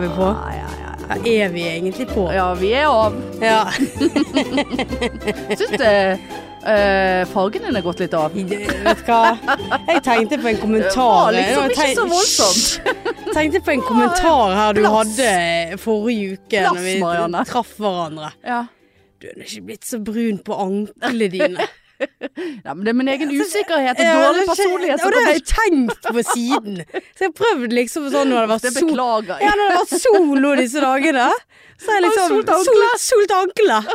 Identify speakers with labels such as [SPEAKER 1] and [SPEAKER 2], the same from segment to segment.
[SPEAKER 1] vi på?
[SPEAKER 2] Ja, ja, ja.
[SPEAKER 1] Ja, er vi egentlig på?
[SPEAKER 2] ja, vi er av.
[SPEAKER 1] Ja.
[SPEAKER 2] Syns det eh, fargen din er gått litt av.
[SPEAKER 1] I det- Vet du hva? Jeg tenkte på en kommentar.
[SPEAKER 2] Det var liksom
[SPEAKER 1] Jeg
[SPEAKER 2] ikke så voldsomt.
[SPEAKER 1] Hysj! Tenkte på en kommentar her du
[SPEAKER 2] Plass.
[SPEAKER 1] hadde forrige uke
[SPEAKER 2] Plass,
[SPEAKER 1] når vi
[SPEAKER 2] Marianne.
[SPEAKER 1] traff hverandre.
[SPEAKER 2] Ja.
[SPEAKER 1] Du er nå ikke blitt så brun på anklene dine.
[SPEAKER 2] Nei, men det er min egen usikkerhet og
[SPEAKER 1] Ja, det er
[SPEAKER 2] dårlig
[SPEAKER 1] ikke-
[SPEAKER 2] personlighet
[SPEAKER 1] Og
[SPEAKER 2] som
[SPEAKER 1] det har
[SPEAKER 2] kommer
[SPEAKER 1] jeg tenkt på siden. Så jeg prøvde liksom sånn når det var
[SPEAKER 2] Det
[SPEAKER 1] sol.
[SPEAKER 2] beklager
[SPEAKER 1] Ja,
[SPEAKER 2] jeg.
[SPEAKER 1] når det var sol nå disse dagene. Så har jeg
[SPEAKER 2] Har
[SPEAKER 1] liksom
[SPEAKER 2] du solt
[SPEAKER 1] sol-
[SPEAKER 2] ankler?
[SPEAKER 1] Solt ankler.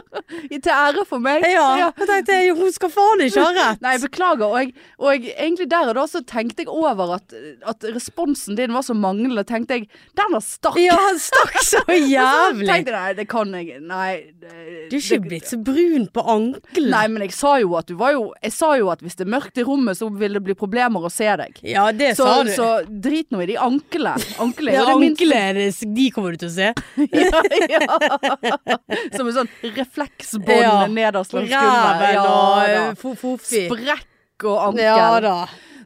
[SPEAKER 2] Til ære for meg.
[SPEAKER 1] Ja. Jeg tenkte hun skal faen ikke ha rett.
[SPEAKER 2] Nei, jeg beklager. Og, jeg, og jeg, egentlig der og da så tenkte jeg over at, at responsen din var så manglende. Tenkte jeg, den har stakk.
[SPEAKER 1] Ja, han stakk så
[SPEAKER 2] Så
[SPEAKER 1] jævlig.
[SPEAKER 2] tenkte jeg, nei, det kan jeg Nei. det-
[SPEAKER 1] Du er ikke
[SPEAKER 2] det-
[SPEAKER 1] blitt så brun på ankelen.
[SPEAKER 2] Nei, men jeg sa jo at du var jo Jeg sa jo at hvis det er mørkt i rommet, så vil det bli problemer å se deg.
[SPEAKER 1] Ja, det
[SPEAKER 2] Så,
[SPEAKER 1] sa du.
[SPEAKER 2] så drit nå i de anklene.
[SPEAKER 1] det
[SPEAKER 2] Anklene er
[SPEAKER 1] er
[SPEAKER 2] jo det minste-
[SPEAKER 1] anklene, de kommer du til å se.
[SPEAKER 2] ja, ja. Som en sånn refleksbånd
[SPEAKER 1] Ja.
[SPEAKER 2] nederst langs skulderen.
[SPEAKER 1] Ræven
[SPEAKER 2] Ja,
[SPEAKER 1] og
[SPEAKER 2] da.
[SPEAKER 1] fo- fofi.
[SPEAKER 2] Sprekk og ankel.
[SPEAKER 1] Ja da.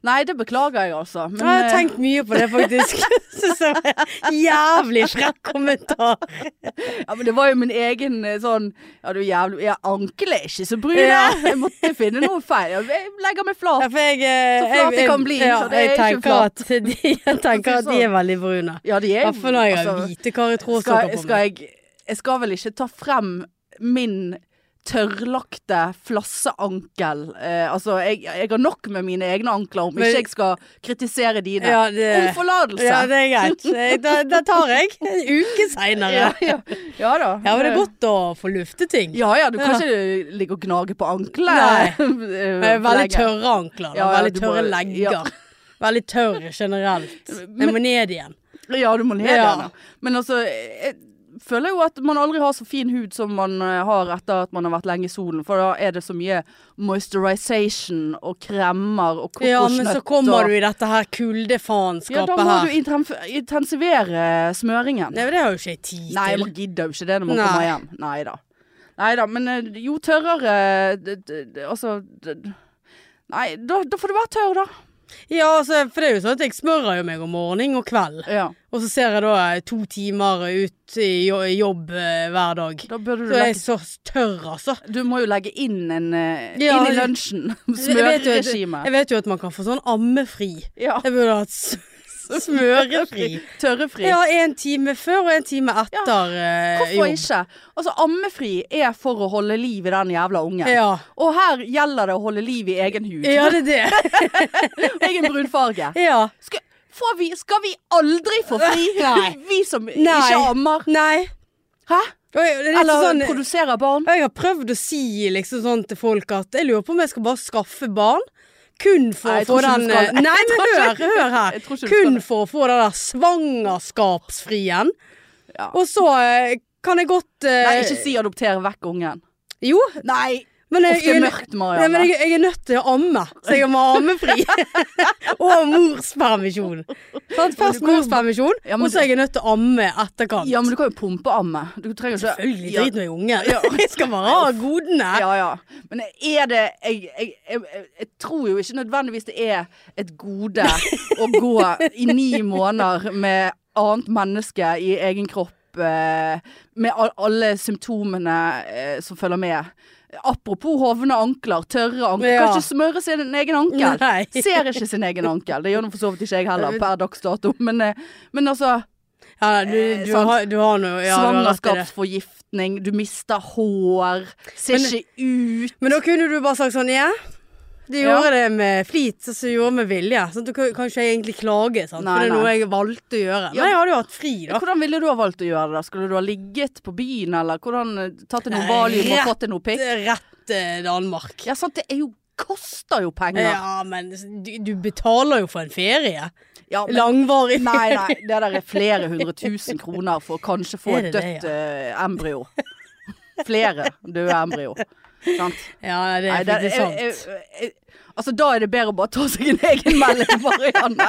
[SPEAKER 2] Nei, det beklager jeg, altså. Men,
[SPEAKER 1] Ja, jeg har
[SPEAKER 2] eh,
[SPEAKER 1] tenkt mye på det, faktisk. Synes det var en Jævlig frekk kommentar.
[SPEAKER 2] Ja, men det var jo min egen eh, sånn Ja, du er jævlig Ja, ankel er ikke så brun.
[SPEAKER 1] Ja.
[SPEAKER 2] Jeg måtte finne noe feil. Jeg- Jeg legger meg
[SPEAKER 1] Ja,
[SPEAKER 2] flat.
[SPEAKER 1] for jeg, eh,
[SPEAKER 2] Så flat det kan bli,
[SPEAKER 1] Ja,
[SPEAKER 2] så det er
[SPEAKER 1] jeg
[SPEAKER 2] ikke
[SPEAKER 1] tenker
[SPEAKER 2] flat.
[SPEAKER 1] at de, jeg tenker at de er veldig brune.
[SPEAKER 2] Ja, de er jo
[SPEAKER 1] Iallfall når jeg har
[SPEAKER 2] altså,
[SPEAKER 1] hvite karretrådsokker
[SPEAKER 2] skal,
[SPEAKER 1] på
[SPEAKER 2] skal
[SPEAKER 1] meg.
[SPEAKER 2] jeg Jeg skal vel ikke ta frem min tørrlagte flasseankel. Eh, altså, jeg, jeg har nok med mine egne ankler om
[SPEAKER 1] Men-
[SPEAKER 2] ikke jeg skal kritisere dine.
[SPEAKER 1] Ja, det-
[SPEAKER 2] om forlatelse!
[SPEAKER 1] Ja, det er greit. Jeg- Da, da tar jeg en uke
[SPEAKER 2] ja,
[SPEAKER 1] seinere.
[SPEAKER 2] ja. ja da.
[SPEAKER 1] Ja, men det er godt å få lufte ting.
[SPEAKER 2] Ja ja, du
[SPEAKER 1] Ja.
[SPEAKER 2] kan ikke ligge og gnage på Eh,
[SPEAKER 1] Nei.
[SPEAKER 2] anklene.
[SPEAKER 1] Men veldig Eh, tørre ankler. Da.
[SPEAKER 2] Ja, ja,
[SPEAKER 1] veldig
[SPEAKER 2] du
[SPEAKER 1] tørre
[SPEAKER 2] må-
[SPEAKER 1] legger.
[SPEAKER 2] ja.
[SPEAKER 1] Veldig tørr generelt. Jeg må ned igjen.
[SPEAKER 2] Ja, du må le
[SPEAKER 1] Ja.
[SPEAKER 2] gjerne. Men altså, jeg føler jo at man aldri har så fin hud som man eh, har etter at man har vært lenge i solen. For da er det så mye moisturization og kremer og kokosnøtt.
[SPEAKER 1] Ja, men så kommer
[SPEAKER 2] og,
[SPEAKER 1] du i dette her
[SPEAKER 2] Ja, da
[SPEAKER 1] kuldefaenskapet
[SPEAKER 2] må du
[SPEAKER 1] her.
[SPEAKER 2] intenf- intensivere smøringen.
[SPEAKER 1] Nei, men det har jo ikke jeg tid
[SPEAKER 2] Nei,
[SPEAKER 1] til.
[SPEAKER 2] man gidder jo ikke det når man
[SPEAKER 1] Nei.
[SPEAKER 2] kommer hjem. Nei da. Nei da, men eh, jo tørrere d- d- d- Altså d- d- Nei, da, da får du være tørr, da.
[SPEAKER 1] Ja, altså, for det er jo sånn at jeg smører jo meg om morgen og kveld.
[SPEAKER 2] Ja,
[SPEAKER 1] Og så ser jeg da eh, to timer ut i jo- jobb eh, hver dag.
[SPEAKER 2] da burde du
[SPEAKER 1] Så jeg
[SPEAKER 2] legge
[SPEAKER 1] er så tørr, altså.
[SPEAKER 2] Du må jo legge inn en eh,
[SPEAKER 1] Ja,
[SPEAKER 2] Inn i lunsjen.
[SPEAKER 1] Jeg vet jo at-
[SPEAKER 2] Smøreregime.
[SPEAKER 1] Jeg vet jo at man kan få sånn ammefri.
[SPEAKER 2] Ja.
[SPEAKER 1] Jeg burde hatt s- smørefri.
[SPEAKER 2] Tørrefri.
[SPEAKER 1] Ja, en time før og en time etter eh,
[SPEAKER 2] Hvorfor
[SPEAKER 1] jobb.
[SPEAKER 2] ikke? Altså, ammefri er for å holde liv i den jævla ungen.
[SPEAKER 1] Ja.
[SPEAKER 2] Og her gjelder det å holde liv i egen hud.
[SPEAKER 1] ja, det er det.
[SPEAKER 2] Egen brunfarge.
[SPEAKER 1] Ja.
[SPEAKER 2] Skal, får vi, skal vi aldri få fri?
[SPEAKER 1] Nei.
[SPEAKER 2] Vi som
[SPEAKER 1] Nei.
[SPEAKER 2] ikke ammer.
[SPEAKER 1] Nei.
[SPEAKER 2] Hæ?
[SPEAKER 1] Og jeg- det er litt
[SPEAKER 2] Eller
[SPEAKER 1] sånn,
[SPEAKER 2] produserer barn.
[SPEAKER 1] jeg har prøvd å si liksom sånn til folk at jeg lurer på om jeg skal bare skaffe barn. Kun for å
[SPEAKER 2] Nei, jeg
[SPEAKER 1] få
[SPEAKER 2] tror ikke du
[SPEAKER 1] den
[SPEAKER 2] skal det.
[SPEAKER 1] eh, Nei,
[SPEAKER 2] Jeg
[SPEAKER 1] men
[SPEAKER 2] tror
[SPEAKER 1] hør,
[SPEAKER 2] ikke-
[SPEAKER 1] hør her.
[SPEAKER 2] Jeg tror ikke du skal
[SPEAKER 1] Kun
[SPEAKER 2] det.
[SPEAKER 1] for å få den der svangerskapsfrien.
[SPEAKER 2] Ja.
[SPEAKER 1] Og så eh, kan jeg godt eh,
[SPEAKER 2] Nei, ikke si adoptere vekk ungen.
[SPEAKER 1] Jo,
[SPEAKER 2] Nei,
[SPEAKER 1] men jeg,
[SPEAKER 2] ofte
[SPEAKER 1] jeg,
[SPEAKER 2] mørkt,
[SPEAKER 1] nei, men
[SPEAKER 2] Marianne.
[SPEAKER 1] jeg, jeg er nødt til å amme, så jeg må ha ammefri. og morspermisjon. Sant? Først
[SPEAKER 2] du kan jo-
[SPEAKER 1] morspermisjon,
[SPEAKER 2] Ja, men
[SPEAKER 1] og så er jeg nødt til å amme etterkant.
[SPEAKER 2] Ja, men du kan jo pumpeamme. Du trenger ikke
[SPEAKER 1] Selvfølgelig
[SPEAKER 2] Ja.
[SPEAKER 1] drit nå i ungen. Jeg skal bare ha godene.
[SPEAKER 2] Ja, ja. Men er det jeg, jeg, jeg, jeg tror jo ikke nødvendigvis det er et gode å gå i ni måneder med annet menneske i egen kropp, eh, med al- alle symptomene eh, som følger med. Apropos hovne ankler, tørre ankler.
[SPEAKER 1] Ja.
[SPEAKER 2] Kan ikke smøre sin egen ankel.
[SPEAKER 1] Nei.
[SPEAKER 2] Ser ikke sin egen ankel. Det gjør nå for så vidt ikke jeg heller per dags dato, men, eh, men altså
[SPEAKER 1] Ja, du, du,
[SPEAKER 2] Eh, sant.
[SPEAKER 1] har, du har noe ja, du har rett i det.
[SPEAKER 2] Svangerskapsforgiftning, du mister hår, ser
[SPEAKER 1] Men-
[SPEAKER 2] ikke ut
[SPEAKER 1] Men da kunne du bare sagt sånn Ja, du
[SPEAKER 2] Ja.
[SPEAKER 1] gjorde det med flit, og så gjorde du med vilje. Sånn, du kan, kan ikke jeg egentlig klage, sant?
[SPEAKER 2] Nei,
[SPEAKER 1] for det er noe
[SPEAKER 2] nei.
[SPEAKER 1] jeg valgte å gjøre.
[SPEAKER 2] Ja.
[SPEAKER 1] Men jeg hadde jo hatt fri, da.
[SPEAKER 2] Hvordan ville du ha valgt å gjøre det? da? Skulle du ha ligget på byen, eller hvordan eh, tatt en
[SPEAKER 1] Nei,
[SPEAKER 2] Valium og
[SPEAKER 1] rett-
[SPEAKER 2] fått en pikk?
[SPEAKER 1] Rett eh, Danmark.
[SPEAKER 2] Ja, sant, det er jo koster jo penger.
[SPEAKER 1] Ja, men du, du betaler jo for en ferie.
[SPEAKER 2] Ja, men,
[SPEAKER 1] Langvarig.
[SPEAKER 2] nei, nei, det der er flere hundre tusen kroner for å kanskje få
[SPEAKER 1] Er
[SPEAKER 2] et
[SPEAKER 1] det det,
[SPEAKER 2] dødt eh, embryo. Flere døde embryo. Sant?
[SPEAKER 1] Ja, det
[SPEAKER 2] Nei,
[SPEAKER 1] er
[SPEAKER 2] det er,
[SPEAKER 1] faktisk sant.
[SPEAKER 2] jeg- jeg- jeg- altså, da er det bedre å bare ta seg en egen melding, Marianne.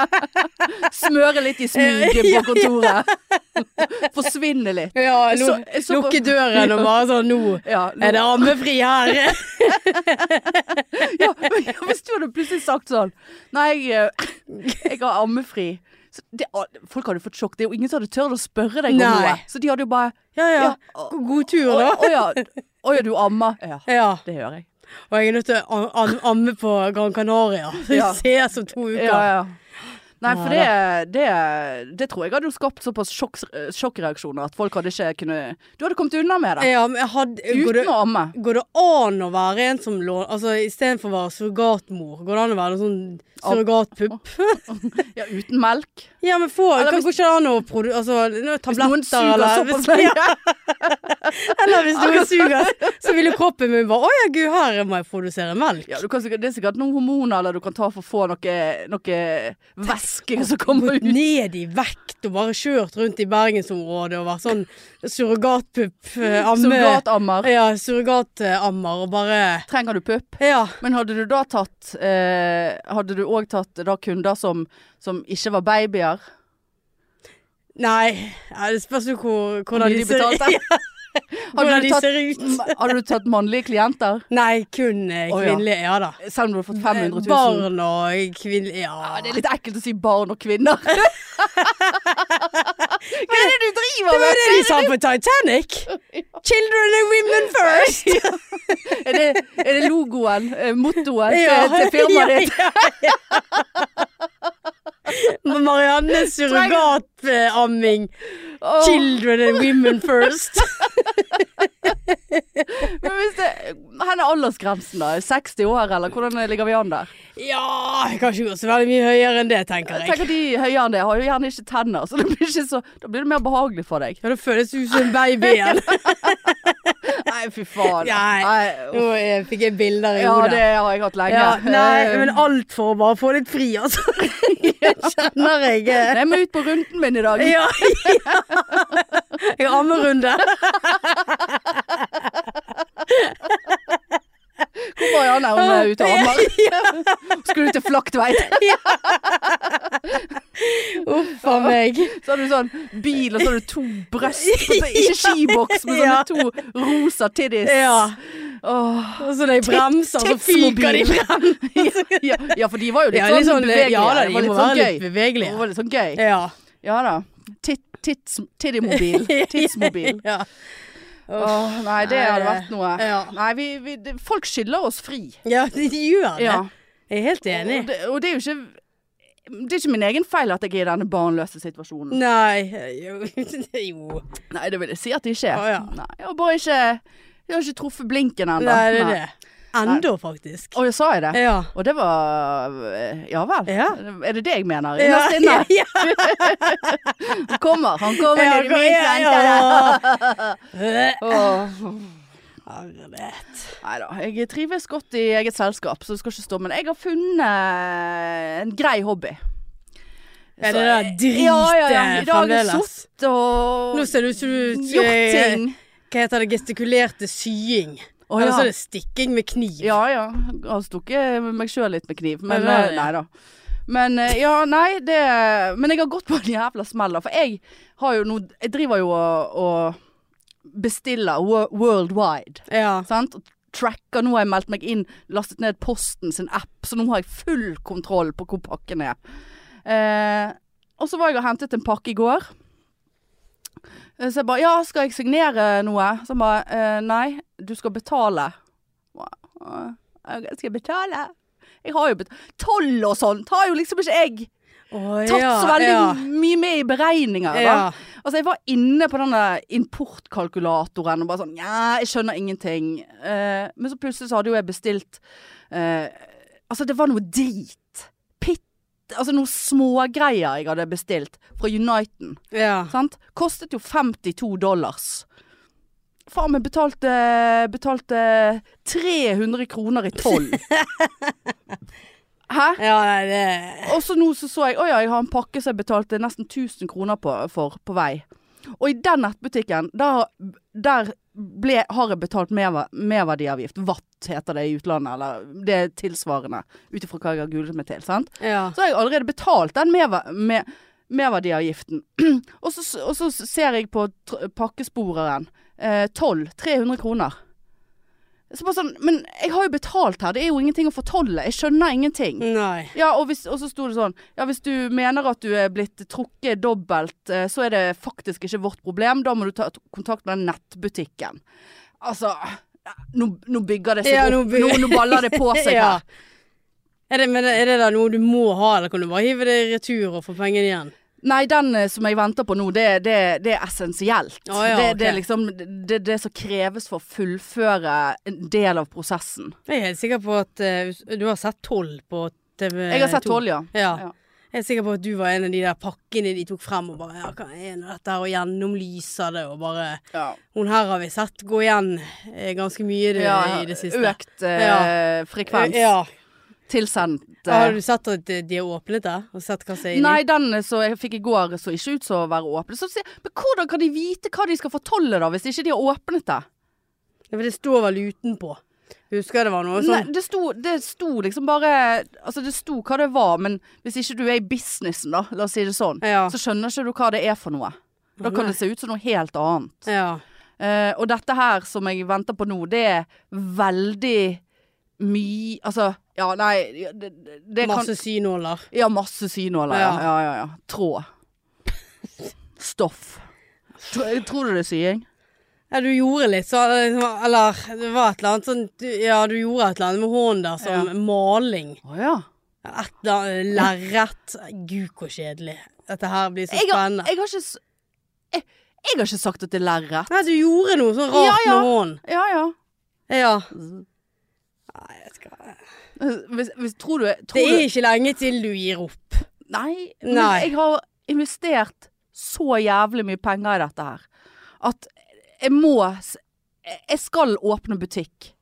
[SPEAKER 2] Smøre litt i smug på kontoret. Forsvinne litt.
[SPEAKER 1] Ja,
[SPEAKER 2] jeg
[SPEAKER 1] lu-
[SPEAKER 2] så- jeg så-
[SPEAKER 1] lukke døren og bare sånn Nå
[SPEAKER 2] Ja, nå-
[SPEAKER 1] er det ammefri her.
[SPEAKER 2] ja, men hvis du hadde plutselig sagt sånn Nei, jeg, eh, jeg har ammefri Så det, folk hadde fått sjokk. Det er jo ingen som hadde tørt å spørre deg om
[SPEAKER 1] Nei.
[SPEAKER 2] noe. Så de hadde jo bare
[SPEAKER 1] Ja, ja.
[SPEAKER 2] Ja.
[SPEAKER 1] God, god tur,
[SPEAKER 2] Å
[SPEAKER 1] da.
[SPEAKER 2] å ja, å ja, du ammer. Ja,
[SPEAKER 1] Ja.
[SPEAKER 2] det hører jeg.
[SPEAKER 1] Og jeg er nødt til å am- am- amme på Gran Canaria. Så vi
[SPEAKER 2] Ja.
[SPEAKER 1] ses om to uker.
[SPEAKER 2] Ja, ja. Nei, for det,
[SPEAKER 1] Ja,
[SPEAKER 2] det, det tror jeg hadde jo skapt såpass sjokk, sjokkreaksjoner at folk hadde ikke kunnet Du hadde kommet unna med det
[SPEAKER 1] Ja, men jeg hadde, går,
[SPEAKER 2] uten
[SPEAKER 1] det,
[SPEAKER 2] å amme.
[SPEAKER 1] går det an å være en som låner Altså istedenfor å være surrogatmor, går det an å være en sånn surrogatpupp?
[SPEAKER 2] Ja, uten melk.
[SPEAKER 1] Ja, men få
[SPEAKER 2] Eller
[SPEAKER 1] Kan
[SPEAKER 2] hvis-
[SPEAKER 1] går ikke det an å produ... Altså, noen
[SPEAKER 2] Hvis noen
[SPEAKER 1] tabletter
[SPEAKER 2] suger
[SPEAKER 1] eller
[SPEAKER 2] såpass lenge.
[SPEAKER 1] Eller hvis noen suger, så ville kroppen min bare Å ja, gud, her må jeg produsere melk.
[SPEAKER 2] Ja, du kan sikkert, det er sikkert noen hormoner eller du kan ta for å få noe, noe væske som kommer ut.
[SPEAKER 1] Ned i vekt og bare kjørt rundt i bergensområdet og vært sånn surrogatpupp, eh, amme
[SPEAKER 2] Surrogatammer.
[SPEAKER 1] Ja, surrogatammer og bare
[SPEAKER 2] Trenger du pupp?
[SPEAKER 1] Ja.
[SPEAKER 2] Men hadde du da tatt eh, Hadde du òg tatt da kunder som, som ikke var babyer?
[SPEAKER 1] Nei, ja, det spørs jo hvor,
[SPEAKER 2] Hvor
[SPEAKER 1] hvordan
[SPEAKER 2] mye
[SPEAKER 1] de
[SPEAKER 2] de
[SPEAKER 1] ser ut.
[SPEAKER 2] betalte?
[SPEAKER 1] Hvordan de
[SPEAKER 2] tatt-
[SPEAKER 1] ser ut.
[SPEAKER 2] Ma- Hadde du tatt mannlige klienter?
[SPEAKER 1] Nei, kun eh,
[SPEAKER 2] Å, ja.
[SPEAKER 1] kvinnelige. Ja da.
[SPEAKER 2] Selv om du hadde fått 500 000?
[SPEAKER 1] Barn og kvinnelige
[SPEAKER 2] Ja,
[SPEAKER 1] Ja.
[SPEAKER 2] det er litt ekkelt å si barn og kvinner. Hva er det du driver
[SPEAKER 1] Det var
[SPEAKER 2] med?
[SPEAKER 1] det de sa på Titanic! Children and women first!
[SPEAKER 2] Er det, er det logoen, eh, mottoet
[SPEAKER 1] Ja.
[SPEAKER 2] til, til firmaet ditt?
[SPEAKER 1] Ja, ja, ja. Marianne surrogatamming.
[SPEAKER 2] Åh,
[SPEAKER 1] Children and women first.
[SPEAKER 2] Men hvis det, Hvor er aldersgrensen, da? 60 år, eller hvordan ligger vi an der?
[SPEAKER 1] Ja, jeg kan ikke gå så veldig mye høyere enn det, tenker jeg.
[SPEAKER 2] Tenk at de høyere enn det har jo gjerne ikke tenner, så, det blir ikke så da blir det mer behagelig for deg.
[SPEAKER 1] Ja, det føles ut som en baby igjen.
[SPEAKER 2] Nei, fy faen.
[SPEAKER 1] Nei. Nå eh, fikk jeg bilder i
[SPEAKER 2] Ja,
[SPEAKER 1] hodet.
[SPEAKER 2] det har jeg hatt lenge.
[SPEAKER 1] Ja, nei,
[SPEAKER 2] Eh,
[SPEAKER 1] men alt for å bare få litt fri, altså. Kjenner jeg eh,
[SPEAKER 2] Jeg må ut på runden min i dag.
[SPEAKER 1] Ja. Jeg har ammerunde.
[SPEAKER 2] Hvor Marianne er hun er eh, ute og ammer? Skulle du til Flaktveit?
[SPEAKER 1] Uff a meg.
[SPEAKER 2] Så har du sånn bil, og så har du to bryst. Altså, ikke skiboks, men sånne
[SPEAKER 1] Ja.
[SPEAKER 2] to rosa tiddies.
[SPEAKER 1] Ja.
[SPEAKER 2] Åh.
[SPEAKER 1] Og så når jeg bremser, så fyker
[SPEAKER 2] Tidsmobil.
[SPEAKER 1] de frem.
[SPEAKER 2] Ja, ja, for de var jo litt
[SPEAKER 1] Ja,
[SPEAKER 2] sånn
[SPEAKER 1] litt sånn,
[SPEAKER 2] bevegelige.
[SPEAKER 1] ja da, de
[SPEAKER 2] Det var
[SPEAKER 1] må
[SPEAKER 2] litt sånn
[SPEAKER 1] være litt
[SPEAKER 2] gøy. Det
[SPEAKER 1] bevegelige.
[SPEAKER 2] var litt sånn gøy.
[SPEAKER 1] Ja.
[SPEAKER 2] Ja da. Titt, tits, tidimobil. Tidsmobil.
[SPEAKER 1] ja.
[SPEAKER 2] Åh, nei, det hadde vært noe.
[SPEAKER 1] Ja.
[SPEAKER 2] Nei, vi, vi, det- folk skylder oss fri.
[SPEAKER 1] Ja, de gjør det.
[SPEAKER 2] Ja.
[SPEAKER 1] Jeg er helt enig.
[SPEAKER 2] Og det, og det er jo ikke det er ikke min egen feil at jeg er i denne barnløse situasjonen.
[SPEAKER 1] Mm. Nei Jo. jo.
[SPEAKER 2] Nei, det vil jeg si at det ikke er.
[SPEAKER 1] Å, ja.
[SPEAKER 2] Nei, jeg har bare ikke Jeg har ikke truffet blinken ennå.
[SPEAKER 1] Nei, det er det. Enda, faktisk.
[SPEAKER 2] Å, jeg sa jeg det?
[SPEAKER 1] Ja.
[SPEAKER 2] Og det var Ja vel.
[SPEAKER 1] Ja.
[SPEAKER 2] Er det det jeg mener?
[SPEAKER 1] Ja,
[SPEAKER 2] Innerst inne.
[SPEAKER 1] ja,
[SPEAKER 2] Han kommer, han kommer
[SPEAKER 1] ja,
[SPEAKER 2] ned i min
[SPEAKER 1] ja,
[SPEAKER 2] kjente.
[SPEAKER 1] ja.
[SPEAKER 2] Åh.
[SPEAKER 1] Herlighet.
[SPEAKER 2] Nei da. Jeg trives godt i eget selskap, så det skal ikke stå. Men jeg har funnet en grei hobby.
[SPEAKER 1] Er
[SPEAKER 2] Så-
[SPEAKER 1] det der dritet
[SPEAKER 2] ja, ja, ja. I dag har jeg
[SPEAKER 1] fremdeles?
[SPEAKER 2] sittet og
[SPEAKER 1] Nå ser det ut som du
[SPEAKER 2] gjort ting.
[SPEAKER 1] Hva heter det? Gestikulerte sying.
[SPEAKER 2] Å,
[SPEAKER 1] Eller så
[SPEAKER 2] ja.
[SPEAKER 1] er det stikking med kniv.
[SPEAKER 2] Ja ja. Jeg har stukket meg sjøl litt med kniv, men
[SPEAKER 1] Ja, det er det.
[SPEAKER 2] eh, nei da. Men eh, ja, nei, det Men jeg har gått på en jævla smell, da. For jeg har jo nå Jeg driver jo og, og bestiller wo- worldwide.
[SPEAKER 1] Ja.
[SPEAKER 2] Sant? Og tracker. Nå har jeg meldt meg inn, lastet ned Posten sin app, så nå har jeg full kontroll på hvor pakken er. Eh, og så var jeg og hentet en pakke i går. Eh, Så jeg bare Ja, skal jeg signere noe? Så han bare eh, Nei, du skal betale. Hva? Eh, Jeg skal betale. Jeg har jo betalt Toll og sånt har jo liksom ikke jeg
[SPEAKER 1] Å,
[SPEAKER 2] tatt
[SPEAKER 1] ja,
[SPEAKER 2] så veldig
[SPEAKER 1] ja.
[SPEAKER 2] mye med i beregninger. Da.
[SPEAKER 1] Ja.
[SPEAKER 2] Altså, jeg var inne på denne importkalkulatoren og bare sånn Nja, jeg skjønner ingenting. Eh, men så plutselig så hadde jo jeg bestilt eh, Altså, det var noe drit. Pitt Altså noen smågreier jeg hadde bestilt fra Uniten.
[SPEAKER 1] ja.
[SPEAKER 2] Sant? Kostet jo 52 dollars. Faen meg betalte, betalte 300 kroner i toll. Hæ?
[SPEAKER 1] Ja, nei, det
[SPEAKER 2] Og så nå så, så jeg Å ja, jeg har en pakke som jeg betalte nesten 1000 kroner på, for på vei. Og i den nettbutikken, der, der ble, har jeg betalt merver, merverdiavgift. VAT heter det i utlandet, eller det er tilsvarende. Ut ifra hva jeg har googlet meg til. sant?
[SPEAKER 1] Ja.
[SPEAKER 2] Så har jeg allerede betalt den merver, mer, merverdiavgiften. og, så, og så ser jeg på tr- pakkesporeren. Eh, 12. 300 kroner. Så bare sånn, men jeg har jo betalt her, det er jo ingenting å fortolle. Jeg skjønner ingenting.
[SPEAKER 1] Nei.
[SPEAKER 2] Ja, og, hvis, og så sto det sånn Ja, hvis du mener at du er blitt trukket dobbelt, eh, så er det faktisk ikke vårt problem. Da må du ta t- kontakt med den nettbutikken. Altså ja, Nå, nå bygger det seg
[SPEAKER 1] Ja, nå
[SPEAKER 2] opp.
[SPEAKER 1] by-
[SPEAKER 2] Nå, nå baller det på seg
[SPEAKER 1] Ja.
[SPEAKER 2] her.
[SPEAKER 1] Er det, men er det da noe du må ha, eller kan du bare hive det i retur og få pengene igjen?
[SPEAKER 2] Nei, den eh, som jeg venter på nå, det, det, det er essensielt.
[SPEAKER 1] Å ja,
[SPEAKER 2] det, det er
[SPEAKER 1] ok.
[SPEAKER 2] liksom det, det som kreves for å fullføre en del av prosessen.
[SPEAKER 1] Jeg er helt sikker på at eh, hvis- du har sett 12 på TV2.
[SPEAKER 2] Jeg har sett tolv, ja.
[SPEAKER 1] Ja.
[SPEAKER 2] Ja.
[SPEAKER 1] Jeg er sikker på at du var en av de der pakkene de tok frem og bare ja, hva er nå dette her, og gjennomlyser det og bare
[SPEAKER 2] ja.
[SPEAKER 1] Hun her har vi sett gå igjen eh, ganske mye det, i det siste.
[SPEAKER 2] Økt eh, frekvens.
[SPEAKER 1] Ja.
[SPEAKER 2] Tilsendt. eh,
[SPEAKER 1] Har du sett at de har åpnet det? Og sett hva som er inni?
[SPEAKER 2] Nei, den eh, som jeg fikk i går så ikke ut som å være åpen. Så, sier jeg, men hvordan kan de vite hva de skal fortolle da, hvis ikke de har åpnet det?
[SPEAKER 1] Ja, for det står vel utenpå. Husker det var noe
[SPEAKER 2] Nei,
[SPEAKER 1] sånn.
[SPEAKER 2] det, sto, det sto liksom bare Altså, det sto hva det var, men hvis ikke du er i businessen, da, la oss si det sånn,
[SPEAKER 1] Ja.
[SPEAKER 2] så skjønner ikke du hva det er for noe. Da kan det se ut som noe helt annet.
[SPEAKER 1] Ja.
[SPEAKER 2] Eh, og dette her som jeg venter på nå, det er veldig mye Altså, ja, nei det, det, det kan,
[SPEAKER 1] Masse synåler.
[SPEAKER 2] Ja, masse synåler. Ja.
[SPEAKER 1] Ja.
[SPEAKER 2] Ja, ja, ja. Tråd. Stoff. Tro- Tror du det er sying?
[SPEAKER 1] Ja, du gjorde litt så Eller det var et eller annet sånn du, Ja, du gjorde et eller annet med hånden der som maling.
[SPEAKER 2] Å ja.
[SPEAKER 1] Et eller annet eh, lerret. Gud, hvor kjedelig. Dette her blir så
[SPEAKER 2] Jeg har,
[SPEAKER 1] spennende.
[SPEAKER 2] jeg har ikke s- jeg, jeg har ikke sagt at det er lerret.
[SPEAKER 1] Nei, du gjorde noe sånn
[SPEAKER 2] Ja,
[SPEAKER 1] rart
[SPEAKER 2] ja.
[SPEAKER 1] med hånden.
[SPEAKER 2] Ja ja.
[SPEAKER 1] Ja. Nei, jeg skal
[SPEAKER 2] Hvis, hvis, tror du tror
[SPEAKER 1] Det er
[SPEAKER 2] du,
[SPEAKER 1] ikke lenge til du gir opp.
[SPEAKER 2] Nei.
[SPEAKER 1] Nei.
[SPEAKER 2] Men jeg har investert så jævlig mye penger i dette her at jeg må s- jeg- Jeg skal åpne butikk.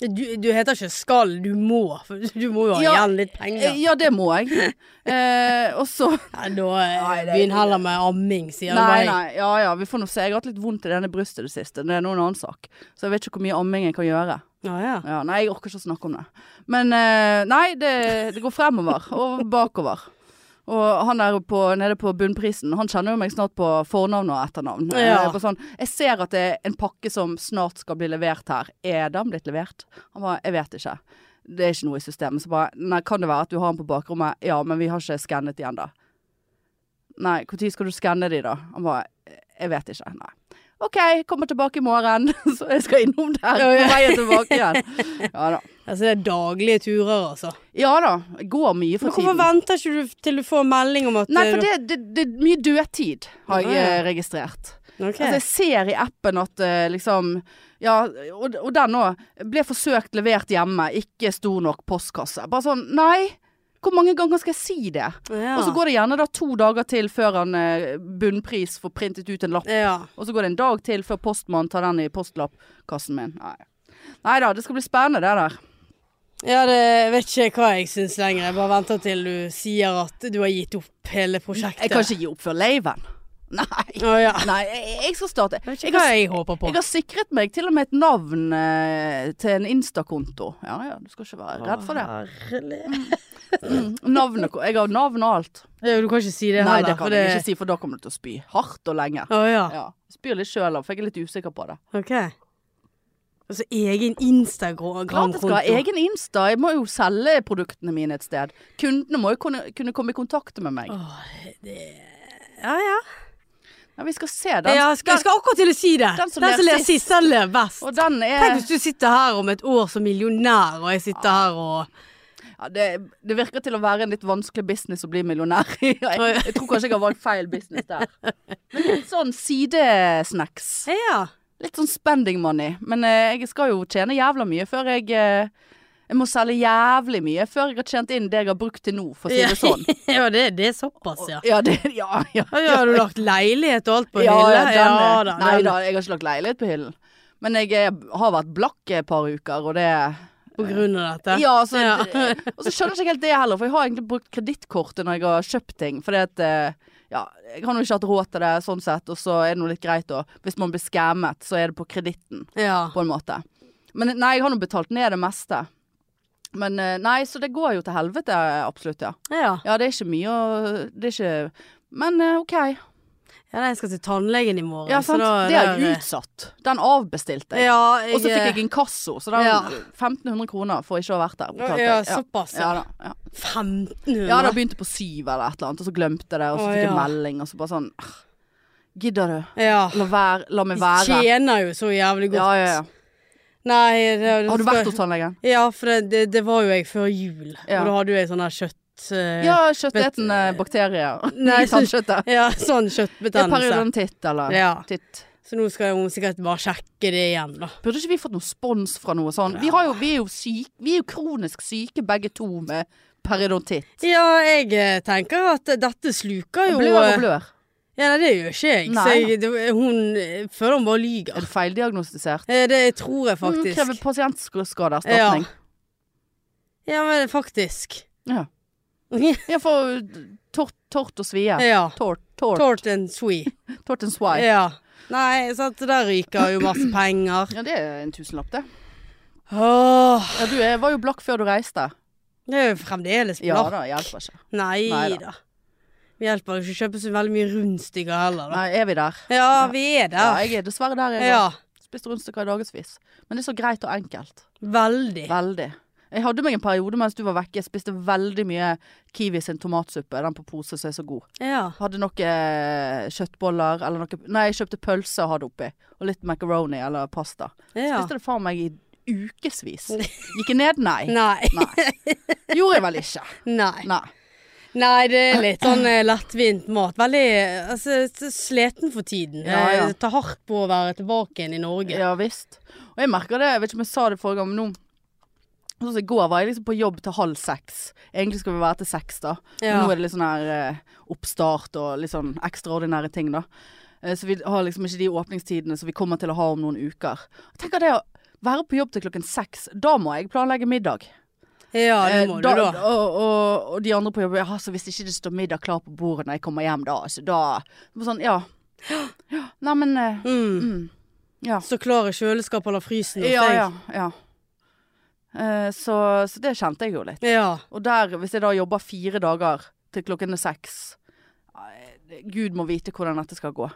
[SPEAKER 1] Du, du heter ikke skal, du må. For du må jo ha
[SPEAKER 2] Ja,
[SPEAKER 1] igjen litt
[SPEAKER 2] Ja,
[SPEAKER 1] penger.
[SPEAKER 2] ja det må jeg. eh, og så
[SPEAKER 1] Nei, da eh,
[SPEAKER 2] Nei, det-
[SPEAKER 1] begynn heller med amming, sier du
[SPEAKER 2] Nei,
[SPEAKER 1] bare.
[SPEAKER 2] nei, ja ja, vi får nå se. Jeg har hatt litt vondt i denne brystet i det siste. Det er nå en annen sak. Så jeg vet ikke hvor mye amming jeg kan gjøre.
[SPEAKER 1] Ja, ja.
[SPEAKER 2] Ja, nei, jeg orker ikke å snakke om det. Men eh, nei, det, det går fremover og bakover. Og han der på, nede på bunnprisen, han kjenner jo meg snart på fornavn og etternavn.
[SPEAKER 1] Ja.
[SPEAKER 2] Eh, på sånn, jeg ser at det er en pakke som snart skal bli levert her. Er den blitt levert? Han bare, jeg vet ikke. Det er ikke noe i systemet. Så bare, nei, kan det være at du har den på bakrommet? Ja, men vi har ikke skannet de ennå. Nei, når skal du skanne de da? Han bare, jeg vet ikke. Nei. OK, kommer tilbake i morgen. Så jeg skal innom der på veien tilbake igjen. Ja da.
[SPEAKER 1] Altså, det er daglige turer, altså.
[SPEAKER 2] Ja da. Jeg Går mye
[SPEAKER 1] Men
[SPEAKER 2] for
[SPEAKER 1] hvorfor
[SPEAKER 2] tiden.
[SPEAKER 1] venter ikke du til du får melding om at
[SPEAKER 2] Nei, for det, det, det er mye dødtid, har jeg
[SPEAKER 1] Ja, ja.
[SPEAKER 2] eh, registrert.
[SPEAKER 1] Ok.
[SPEAKER 2] Altså, jeg ser i appen at eh, liksom Ja, og, og den òg. Ble forsøkt levert hjemme, ikke stor nok postkasse. Bare sånn, nei. Hvor mange ganger skal jeg si det?
[SPEAKER 1] ja.
[SPEAKER 2] Og så går det gjerne da to dager til før han eh, bunnpris får printet ut en lapp.
[SPEAKER 1] ja.
[SPEAKER 2] Og så går det en dag til før postmannen tar den i postlappkassen min. Nei. da, det skal bli spennende det der.
[SPEAKER 1] ja, det jeg vet ikke hva jeg syns lenger. Jeg bare venter til du sier at du har gitt opp hele prosjektet.
[SPEAKER 2] Jeg kan ikke gi opp før laven. Nei.
[SPEAKER 1] Å ja.
[SPEAKER 2] Nei, jeg, jeg skal starte.
[SPEAKER 1] Jeg vet
[SPEAKER 2] Jeg
[SPEAKER 1] ikke hva
[SPEAKER 2] har,
[SPEAKER 1] jeg håper på.
[SPEAKER 2] jeg har sikret meg til og med et navn eh, til en Insta-konto. Ja ja, du skal ikke være redd for det. Mm.
[SPEAKER 1] Herlig.
[SPEAKER 2] Navnet, jeg har navn og alt.
[SPEAKER 1] Ja, Du kan ikke si det
[SPEAKER 2] Nei,
[SPEAKER 1] heller.
[SPEAKER 2] det kan jeg ikke si, for da kommer du til å spy. Hardt og lenge.
[SPEAKER 1] Å ja.
[SPEAKER 2] Ja. Spyr litt sjøl av, for jeg er litt usikker på det.
[SPEAKER 1] Ok. Altså egen
[SPEAKER 2] Klart jeg skal ha
[SPEAKER 1] Instagram-konto.
[SPEAKER 2] egen Insta. Jeg må jo selge produktene mine et sted. Kundene må jo kunne, kunne komme i kontakt med meg.
[SPEAKER 1] Ja, ja.
[SPEAKER 2] Ja, vi skal se den.
[SPEAKER 1] Ja, jeg skal, jeg skal akkurat til å si det. Den som, ler sist, den ler best.
[SPEAKER 2] Og den er
[SPEAKER 1] Tenk hvis du sitter her om et år som millionær, og jeg sitter her og
[SPEAKER 2] ja, det, det virker til å være en litt vanskelig business å bli millionær i. Jeg, jeg tror kanskje jeg har valgt feil business der. Men litt sånn sidesnacks.
[SPEAKER 1] Ja.
[SPEAKER 2] Litt sånn spending money. Men eh, jeg skal jo tjene jævla mye før jeg eh, Jeg må selge jævlig mye før jeg har tjent inn det jeg har brukt til nå, for å si det sånn.
[SPEAKER 1] ja, det, det er såpass, ja.
[SPEAKER 2] Ja, det, ja, ja.
[SPEAKER 1] Ja, ja, har du lagt leilighet og alt på
[SPEAKER 2] ja,
[SPEAKER 1] hylle?
[SPEAKER 2] ja, den er-
[SPEAKER 1] da.
[SPEAKER 2] Nei
[SPEAKER 1] den-
[SPEAKER 2] da, jeg har ikke lagt leilighet på hyllen. Men jeg eh, har vært blakk et par uker, og det
[SPEAKER 1] På grunn av dette?
[SPEAKER 2] Ja, altså,
[SPEAKER 1] Ja.
[SPEAKER 2] det- og så skjønner jeg ikke helt det heller, for jeg har egentlig brukt kredittkortet når jeg har kjøpt ting. Fordi at eh, ja, jeg har nå ikke hatt råd til det sånn sett, og så er det nå litt greit å Hvis man blir skammet, så er det på kreditten,
[SPEAKER 1] ja.
[SPEAKER 2] på en måte. Men nei, jeg har nå betalt ned det meste. Men eh, nei, så det går jo til helvete, absolutt, ja.
[SPEAKER 1] Ja.
[SPEAKER 2] Ja, det er ikke mye å Det er ikke Men eh, OK.
[SPEAKER 1] Ja, nei, jeg skal til tannlegen i morgen.
[SPEAKER 2] Ja,
[SPEAKER 1] så
[SPEAKER 2] sant.
[SPEAKER 1] da er
[SPEAKER 2] Det er jo
[SPEAKER 1] der- eh,
[SPEAKER 2] utsatt. Den avbestilte jeg.
[SPEAKER 1] Ja, jeg
[SPEAKER 2] Og så fikk jeg inkasso, så det er
[SPEAKER 1] Ja.
[SPEAKER 2] 1500 kroner for ikke å ha vært der. betalte
[SPEAKER 1] eh, Ja,
[SPEAKER 2] jeg. Ja.
[SPEAKER 1] såpass.
[SPEAKER 2] Ja
[SPEAKER 1] Ja.
[SPEAKER 2] da. Ja.
[SPEAKER 1] 1500?
[SPEAKER 2] ja, det begynte på syv eller et eller annet, og så glemte jeg det, og så
[SPEAKER 1] Å,
[SPEAKER 2] fikk jeg
[SPEAKER 1] ja.
[SPEAKER 2] melding, og så bare sånn «Ah, Gidder du?
[SPEAKER 1] Ja.
[SPEAKER 2] La, være, la meg være.
[SPEAKER 1] De tjener jo så jævlig godt.
[SPEAKER 2] Ja, ja, ja.
[SPEAKER 1] Nei, det, det,
[SPEAKER 2] Har du vært hos tannlegen?
[SPEAKER 1] Ja, for det, det, det var jo jeg før jul. Og
[SPEAKER 2] Ja.
[SPEAKER 1] da hadde jo jeg sånn her kjøtt... eh,
[SPEAKER 2] Ja, kjøttetende bakterier
[SPEAKER 1] Nei,
[SPEAKER 2] eh, i tannkjøttet.
[SPEAKER 1] ja, sånn
[SPEAKER 2] Det er
[SPEAKER 1] kjøttbetennelse.
[SPEAKER 2] periodontitt, eller
[SPEAKER 1] Ja.
[SPEAKER 2] titt.
[SPEAKER 1] Så nå skal hun sikkert bare sjekke det igjen, da.
[SPEAKER 2] Burde ikke vi fått noe spons fra noe sånn? Vi, har jo, vi, er jo syk, vi er jo kronisk syke begge to med periodontitt.
[SPEAKER 1] Ja, jeg eh, tenker at dette sluker jo
[SPEAKER 2] Blør
[SPEAKER 1] eh,
[SPEAKER 2] og blør.
[SPEAKER 1] Ja, nei, det gjør ikke jeg.
[SPEAKER 2] Nei.
[SPEAKER 1] Så jeg, det, hun eh, føler hun bare lyger.
[SPEAKER 2] Er du feildiagnostisert?
[SPEAKER 1] Eh, Det tror jeg
[SPEAKER 2] Mm, Krever
[SPEAKER 1] faktisk.
[SPEAKER 2] pasientskadeerstatning.
[SPEAKER 1] Ja, men faktisk.
[SPEAKER 2] Ja. ja, for tort, tort og svie.
[SPEAKER 1] ja.
[SPEAKER 2] Tort, tort,
[SPEAKER 1] Tort and sweet.
[SPEAKER 2] tort and swie.
[SPEAKER 1] Ja. Nei, så at der ryker jo masse penger.
[SPEAKER 2] Ja, det er en tusenlapp, det.
[SPEAKER 1] Åh,
[SPEAKER 2] Ja, du eh, var jo blakk før du reiste.
[SPEAKER 1] det er jo fremdeles
[SPEAKER 2] Ja
[SPEAKER 1] blakk.
[SPEAKER 2] da, hjelper ikke.
[SPEAKER 1] Nei
[SPEAKER 2] Neida.
[SPEAKER 1] da. Vi hjelper jo ikke å kjøpe så veldig mye rundstykker heller, da.
[SPEAKER 2] Nei, er vi der?
[SPEAKER 1] Ja, vi er
[SPEAKER 2] Ja,
[SPEAKER 1] der.
[SPEAKER 2] jeg er dessverre der. Jeg
[SPEAKER 1] Ja,
[SPEAKER 2] har spist rundstykker i dagevis. Men det er så greit og enkelt.
[SPEAKER 1] veldig.
[SPEAKER 2] Veldig. Jeg hadde meg en periode mens du var vekke. Jeg spiste veldig mye Kiwi sin tomatsuppe. Den på pose som er så god.
[SPEAKER 1] Ja.
[SPEAKER 2] Hadde noe eh, kjøttboller eller noe Nei, jeg kjøpte pølse og hadde oppi. Og litt macaroni eller pasta.
[SPEAKER 1] ja.
[SPEAKER 2] Spiste det faen meg i ukevis. Gikk jeg ned? Nei.
[SPEAKER 1] Nei.
[SPEAKER 2] Nei. Gjorde jeg vel ikke.
[SPEAKER 1] Nei.
[SPEAKER 2] Nei.
[SPEAKER 1] Nei, det er litt sånn eh, lettvint mat. Veldig eh, altså, s- sliten for tiden.
[SPEAKER 2] Ja, ja.
[SPEAKER 1] Eh, Tar hardt på å være tilbake igjen i Norge.
[SPEAKER 2] Ja visst. Og jeg merker det, jeg vet ikke om jeg sa det forrige gang, men nå Sånn som i går var jeg liksom på jobb til halv seks. Egentlig skulle vi være til seks, da. Men
[SPEAKER 1] Ja.
[SPEAKER 2] nå er det litt sånn her eh, oppstart og litt sånn ekstraordinære ting, da. Eh, Så vi har liksom ikke de åpningstidene som vi kommer til å ha om noen uker. Jeg tenker det å være på jobb til klokken seks, da må jeg planlegge middag.
[SPEAKER 1] Ja, det må
[SPEAKER 2] Eh,
[SPEAKER 1] du
[SPEAKER 2] da,
[SPEAKER 1] da.
[SPEAKER 2] Og, og, og de andre på jobb ja, så Hvis ikke det står middag klar på bordet når jeg kommer hjem da, altså da Sånn, ja. ja Neimen eh,
[SPEAKER 1] Mm.
[SPEAKER 2] mm, Ja.
[SPEAKER 1] Så klarer kjøleskapet eller frysen hos
[SPEAKER 2] Ja,
[SPEAKER 1] deg.
[SPEAKER 2] ja. ja. Eh, så, så det kjente jeg jo litt.
[SPEAKER 1] ja.
[SPEAKER 2] Og der, hvis jeg da jobber fire dager til klokken er seks eh, Gud må vite hvordan dette skal gå.